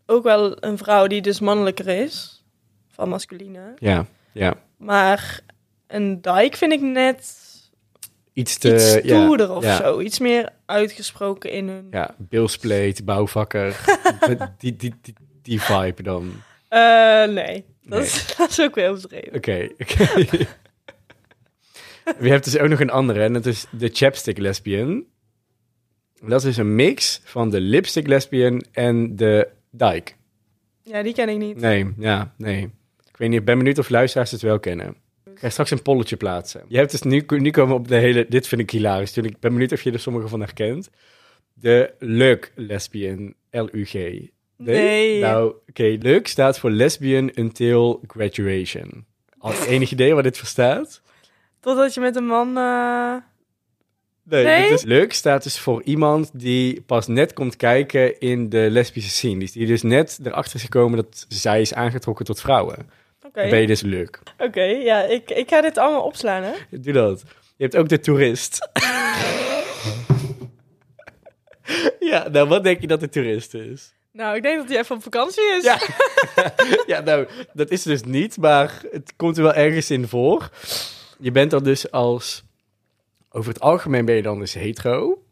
B: ook wel een vrouw die dus mannelijker is. Van masculine.
A: Ja, ja.
B: Maar een dike vind ik net
A: Iets te...
B: iets
A: ja,
B: stoerder of
A: ja.
B: zo. Iets meer uitgesproken in hun...
A: Ja, bilspleet, bouwvakker. die, die, die, die vibe dan.
B: Eh, nee, dat,
A: Nee.
B: Is, dat is ook weer overdreven.
A: Oké, oké. We hebben dus ook nog een andere, en dat is de chapstick lesbian. Dat is een mix van de lipstick lesbian en de dyke.
B: Ja, die ken ik niet.
A: Nee, ja, nee. Ik weet niet, ik ben benieuwd of luisteraars het wel kennen. Ik ga straks een polletje plaatsen. Je hebt dus nu, nu komen we op de hele... Dit vind ik hilarisch. Toen ik ben benieuwd of je er sommige van herkent. De LUG lesbian. L-U-G. Nee?
B: Nee.
A: Nou, oké. LUG staat voor lesbian until graduation. Al enig idee waar dit voor staat?
B: Totdat je met een man... eh,
A: Nee.
B: Nee?
A: dit is- LUG staat dus voor iemand die pas net komt kijken in de lesbische scene. Die- Die dus net erachter is gekomen dat zij is aangetrokken tot vrouwen.
B: Oké,
A: Dan ben je dus LUG.
B: oké, ja, ik, ik ga dit allemaal opslaan, hè.
A: Doe dat. Je hebt ook de toerist. ja, nou, wat denk je dat de toerist is?
B: Nou, ik denk dat hij even op vakantie is.
A: Ja. ja, nou, dat is dus niet, maar het komt er wel ergens in voor. Je bent dan dus als... Over het algemeen ben je dan dus hetero.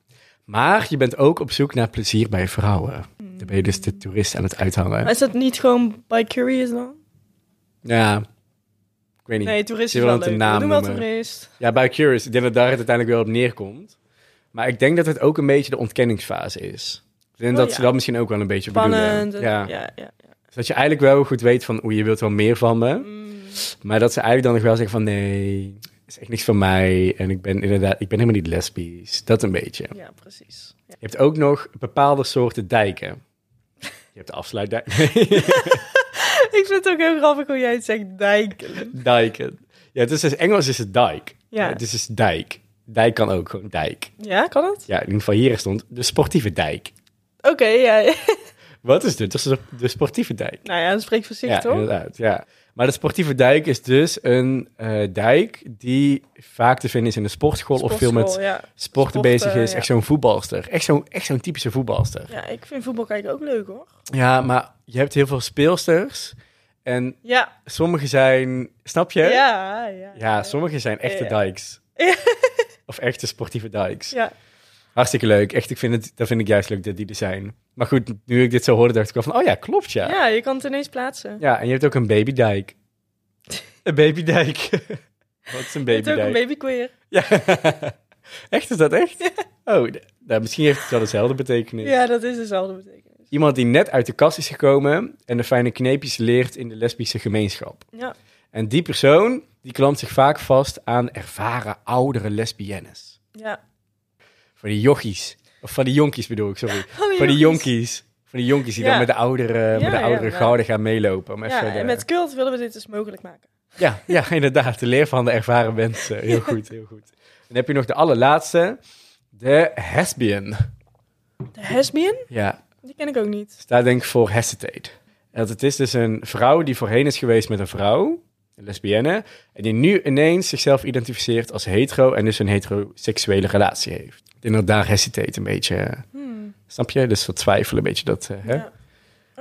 A: Maar je bent ook op zoek naar plezier bij vrouwen. Dan ben je dus de toerist aan het
B: Maar
A: uithangen.
B: is dat niet gewoon by curious dan?
A: Ja, ik weet niet.
B: Nee, toerist
A: Je
B: is
A: wil
B: wel
A: het een
B: leuk.
A: naam
B: We doen wel
A: noemen.
B: toerist.
A: Ja, bij Curious. Ik denk dat daar het uiteindelijk wel op neerkomt. Maar ik denk dat het ook een beetje de ontkenningsfase is. Ik denk
B: Oh,
A: dat
B: ja.
A: ze dat misschien ook wel een beetje
B: Spannend.
A: bedoelen.
B: Ja.
A: Ja.
B: Ja, ja,
A: Dus dat je eigenlijk wel goed weet van, oeh, je wilt wel meer van me.
B: Mm,
A: Maar dat ze eigenlijk dan nog wel zeggen van, nee, is echt niks van mij. En ik ben inderdaad, ik ben helemaal niet lesbisch. Dat een beetje.
B: ja, precies. Ja.
A: Je hebt ook nog bepaalde soorten dijken. Je hebt de afsluitdijk.
B: Ik vind het ook heel grappig hoe jij het zegt, dijken.
A: dijken. Ja, het is dus Engels is het dijk.
B: Ja.
A: Het is dus dijk. Dijk kan ook gewoon dijk.
B: Ja, kan het?
A: Ja, in ieder geval hier stond de sportieve dijk.
B: Oké, ja.
A: Wat is dit? Dat is de- de sportieve dijk.
B: Nou ja, dat spreekt voor zich,
A: ja,
B: toch?
A: inderdaad. Ja. Maar de sportieve dijk is dus een eh, dijk die vaak te vinden is in de sportschool, of veel met
B: Sportschool, ja.
A: sporten
B: Sporten,
A: bezig is.
B: ja.
A: Echt zo'n voetbalster. Echt zo'n echt zo'n typische voetbalster.
B: Ja, ik vind voetbal kijken ook leuk, hoor.
A: Ja, maar je hebt heel veel speelsters. En
B: Ja,
A: sommige zijn, snap je?
B: ja, ja. Ja,
A: Ja, sommige zijn echte
B: Ja.
A: dijks. Of echte sportieve dijks.
B: Ja.
A: Hartstikke leuk. Echt, ik vind het, dat vind ik juist leuk dat die er zijn. Maar goed, nu ik dit zo hoorde, dacht ik wel van, oh ja, klopt ja.
B: ja, je kan het ineens plaatsen.
A: Ja, en je hebt ook een babydijk. Een babydijk. Wat is een
B: Je hebt ook
A: babydijk?
B: een babyqueer.
A: Ja. Echt, is dat echt? Oh, d- nou, misschien heeft het wel dezelfde betekenis.
B: Ja, dat is dezelfde betekenis.
A: Iemand die net uit de kast is gekomen en de fijne kneepjes leert in de lesbische gemeenschap.
B: Ja.
A: En die persoon, die klampt zich vaak vast aan ervaren oudere lesbiennes.
B: Ja.
A: Van die jochies. Of van die jonkies bedoel ik, sorry.
B: Van
A: Van die jonkies. Van die jonkies die
B: Ja.
A: dan met de oudere, met de
B: ja,
A: oudere
B: ja.
A: gouden gaan meelopen. Om even
B: Ja,
A: de-
B: en met cult willen we dit dus mogelijk maken.
A: Ja, ja, inderdaad. De leer van de ervaren mensen. Heel goed, heel goed. Dan heb je nog de allerlaatste. De hesbian.
B: De Hesbian?
A: Ja,
B: Die ken ik ook niet.
A: staat denk ik voor hesitate. Dat het is dus een vrouw die voorheen is geweest met een vrouw, een lesbienne, en die nu ineens zichzelf identificeert als hetero en dus een heteroseksuele relatie heeft. Ik denk dat daar hesitate een beetje, eh,
B: Hmm.
A: snap je? Dus dat twijfelen een beetje dat, eh, hè?
B: Ja.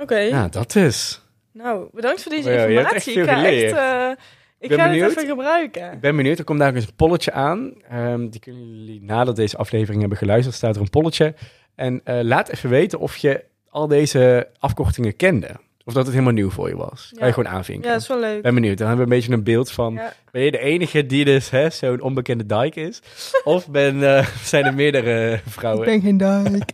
B: Oké,
A: Ja, dat is.
B: nou, bedankt voor deze
A: Oh ja, je hebt
B: informatie.
A: echt veel
B: ik ga
A: geleerd.
B: echt... eh, Ik
A: ben
B: ga
A: benieuwd.
B: het even gebruiken.
A: Ik ben benieuwd, er komt daar ook eens een polletje aan. Ehm, die kunnen jullie nadat deze aflevering hebben geluisterd, staat er een polletje. En eh, laat even weten of je al deze afkortingen kende. Of dat het helemaal nieuw voor je was. Kan
B: Ja.
A: je gewoon aanvinken.
B: Ja, dat is wel leuk.
A: ben benieuwd, dan hebben we een beetje een beeld van...
B: Ja.
A: ben je de enige die dus hè, zo'n onbekende dijk is? Of ben, eh, zijn er meerdere vrouwen?
D: geen dijk.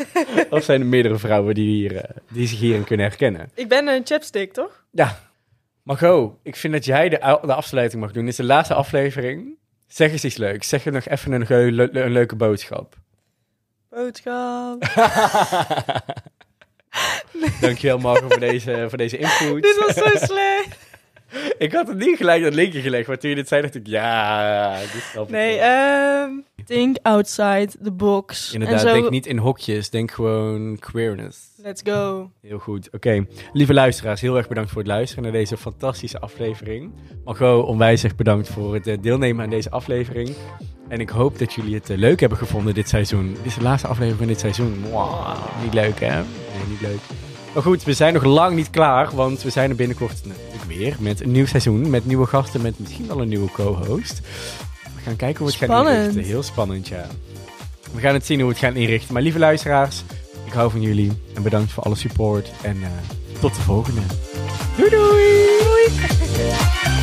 A: Of zijn er meerdere vrouwen die, hier, eh, die zich hierin kunnen herkennen?
B: Ik ben een chapstick, toch?
A: Margot, ik vind dat jij de, au- de afsluiting mag doen. Dit is de laatste aflevering. Zeg eens iets leuks. Zeg er nog even een, geu- le- le- een leuke boodschap.
B: Boodschap.
A: Dankjewel Margot voor deze, voor deze input.
B: Dit was zo slecht.
A: Ik had het niet gelijk dat linkje gelegd, maar toen je dit zei dacht ik, ja, dit snap ik
B: Nee,
A: wel.
B: ehm think outside the box.
A: Inderdaad,
B: en zo,
A: denk niet in hokjes, denk gewoon queerness.
B: Let's go.
A: Heel goed. Oké, lieve luisteraars, heel erg bedankt voor het luisteren naar deze fantastische aflevering. Margot, onwijs erg bedankt voor het eh, deelnemen aan deze aflevering. En ik hoop dat jullie het eh, leuk hebben gevonden dit seizoen. Dit is de laatste aflevering van dit seizoen. Mwah, niet leuk, hè? Nee, niet leuk. Maar goed, we zijn nog lang niet klaar, want we zijn er binnenkort natuurlijk weer met een nieuw seizoen, met nieuwe gasten, met misschien wel een nieuwe co-host. We gaan kijken hoe we het gaan
B: Spannend.
A: inrichten. Heel spannend, ja. We gaan het zien hoe we het gaan inrichten. Maar lieve luisteraars, ik hou van jullie en bedankt voor alle support. En eh, tot de volgende. Doei doei! doei.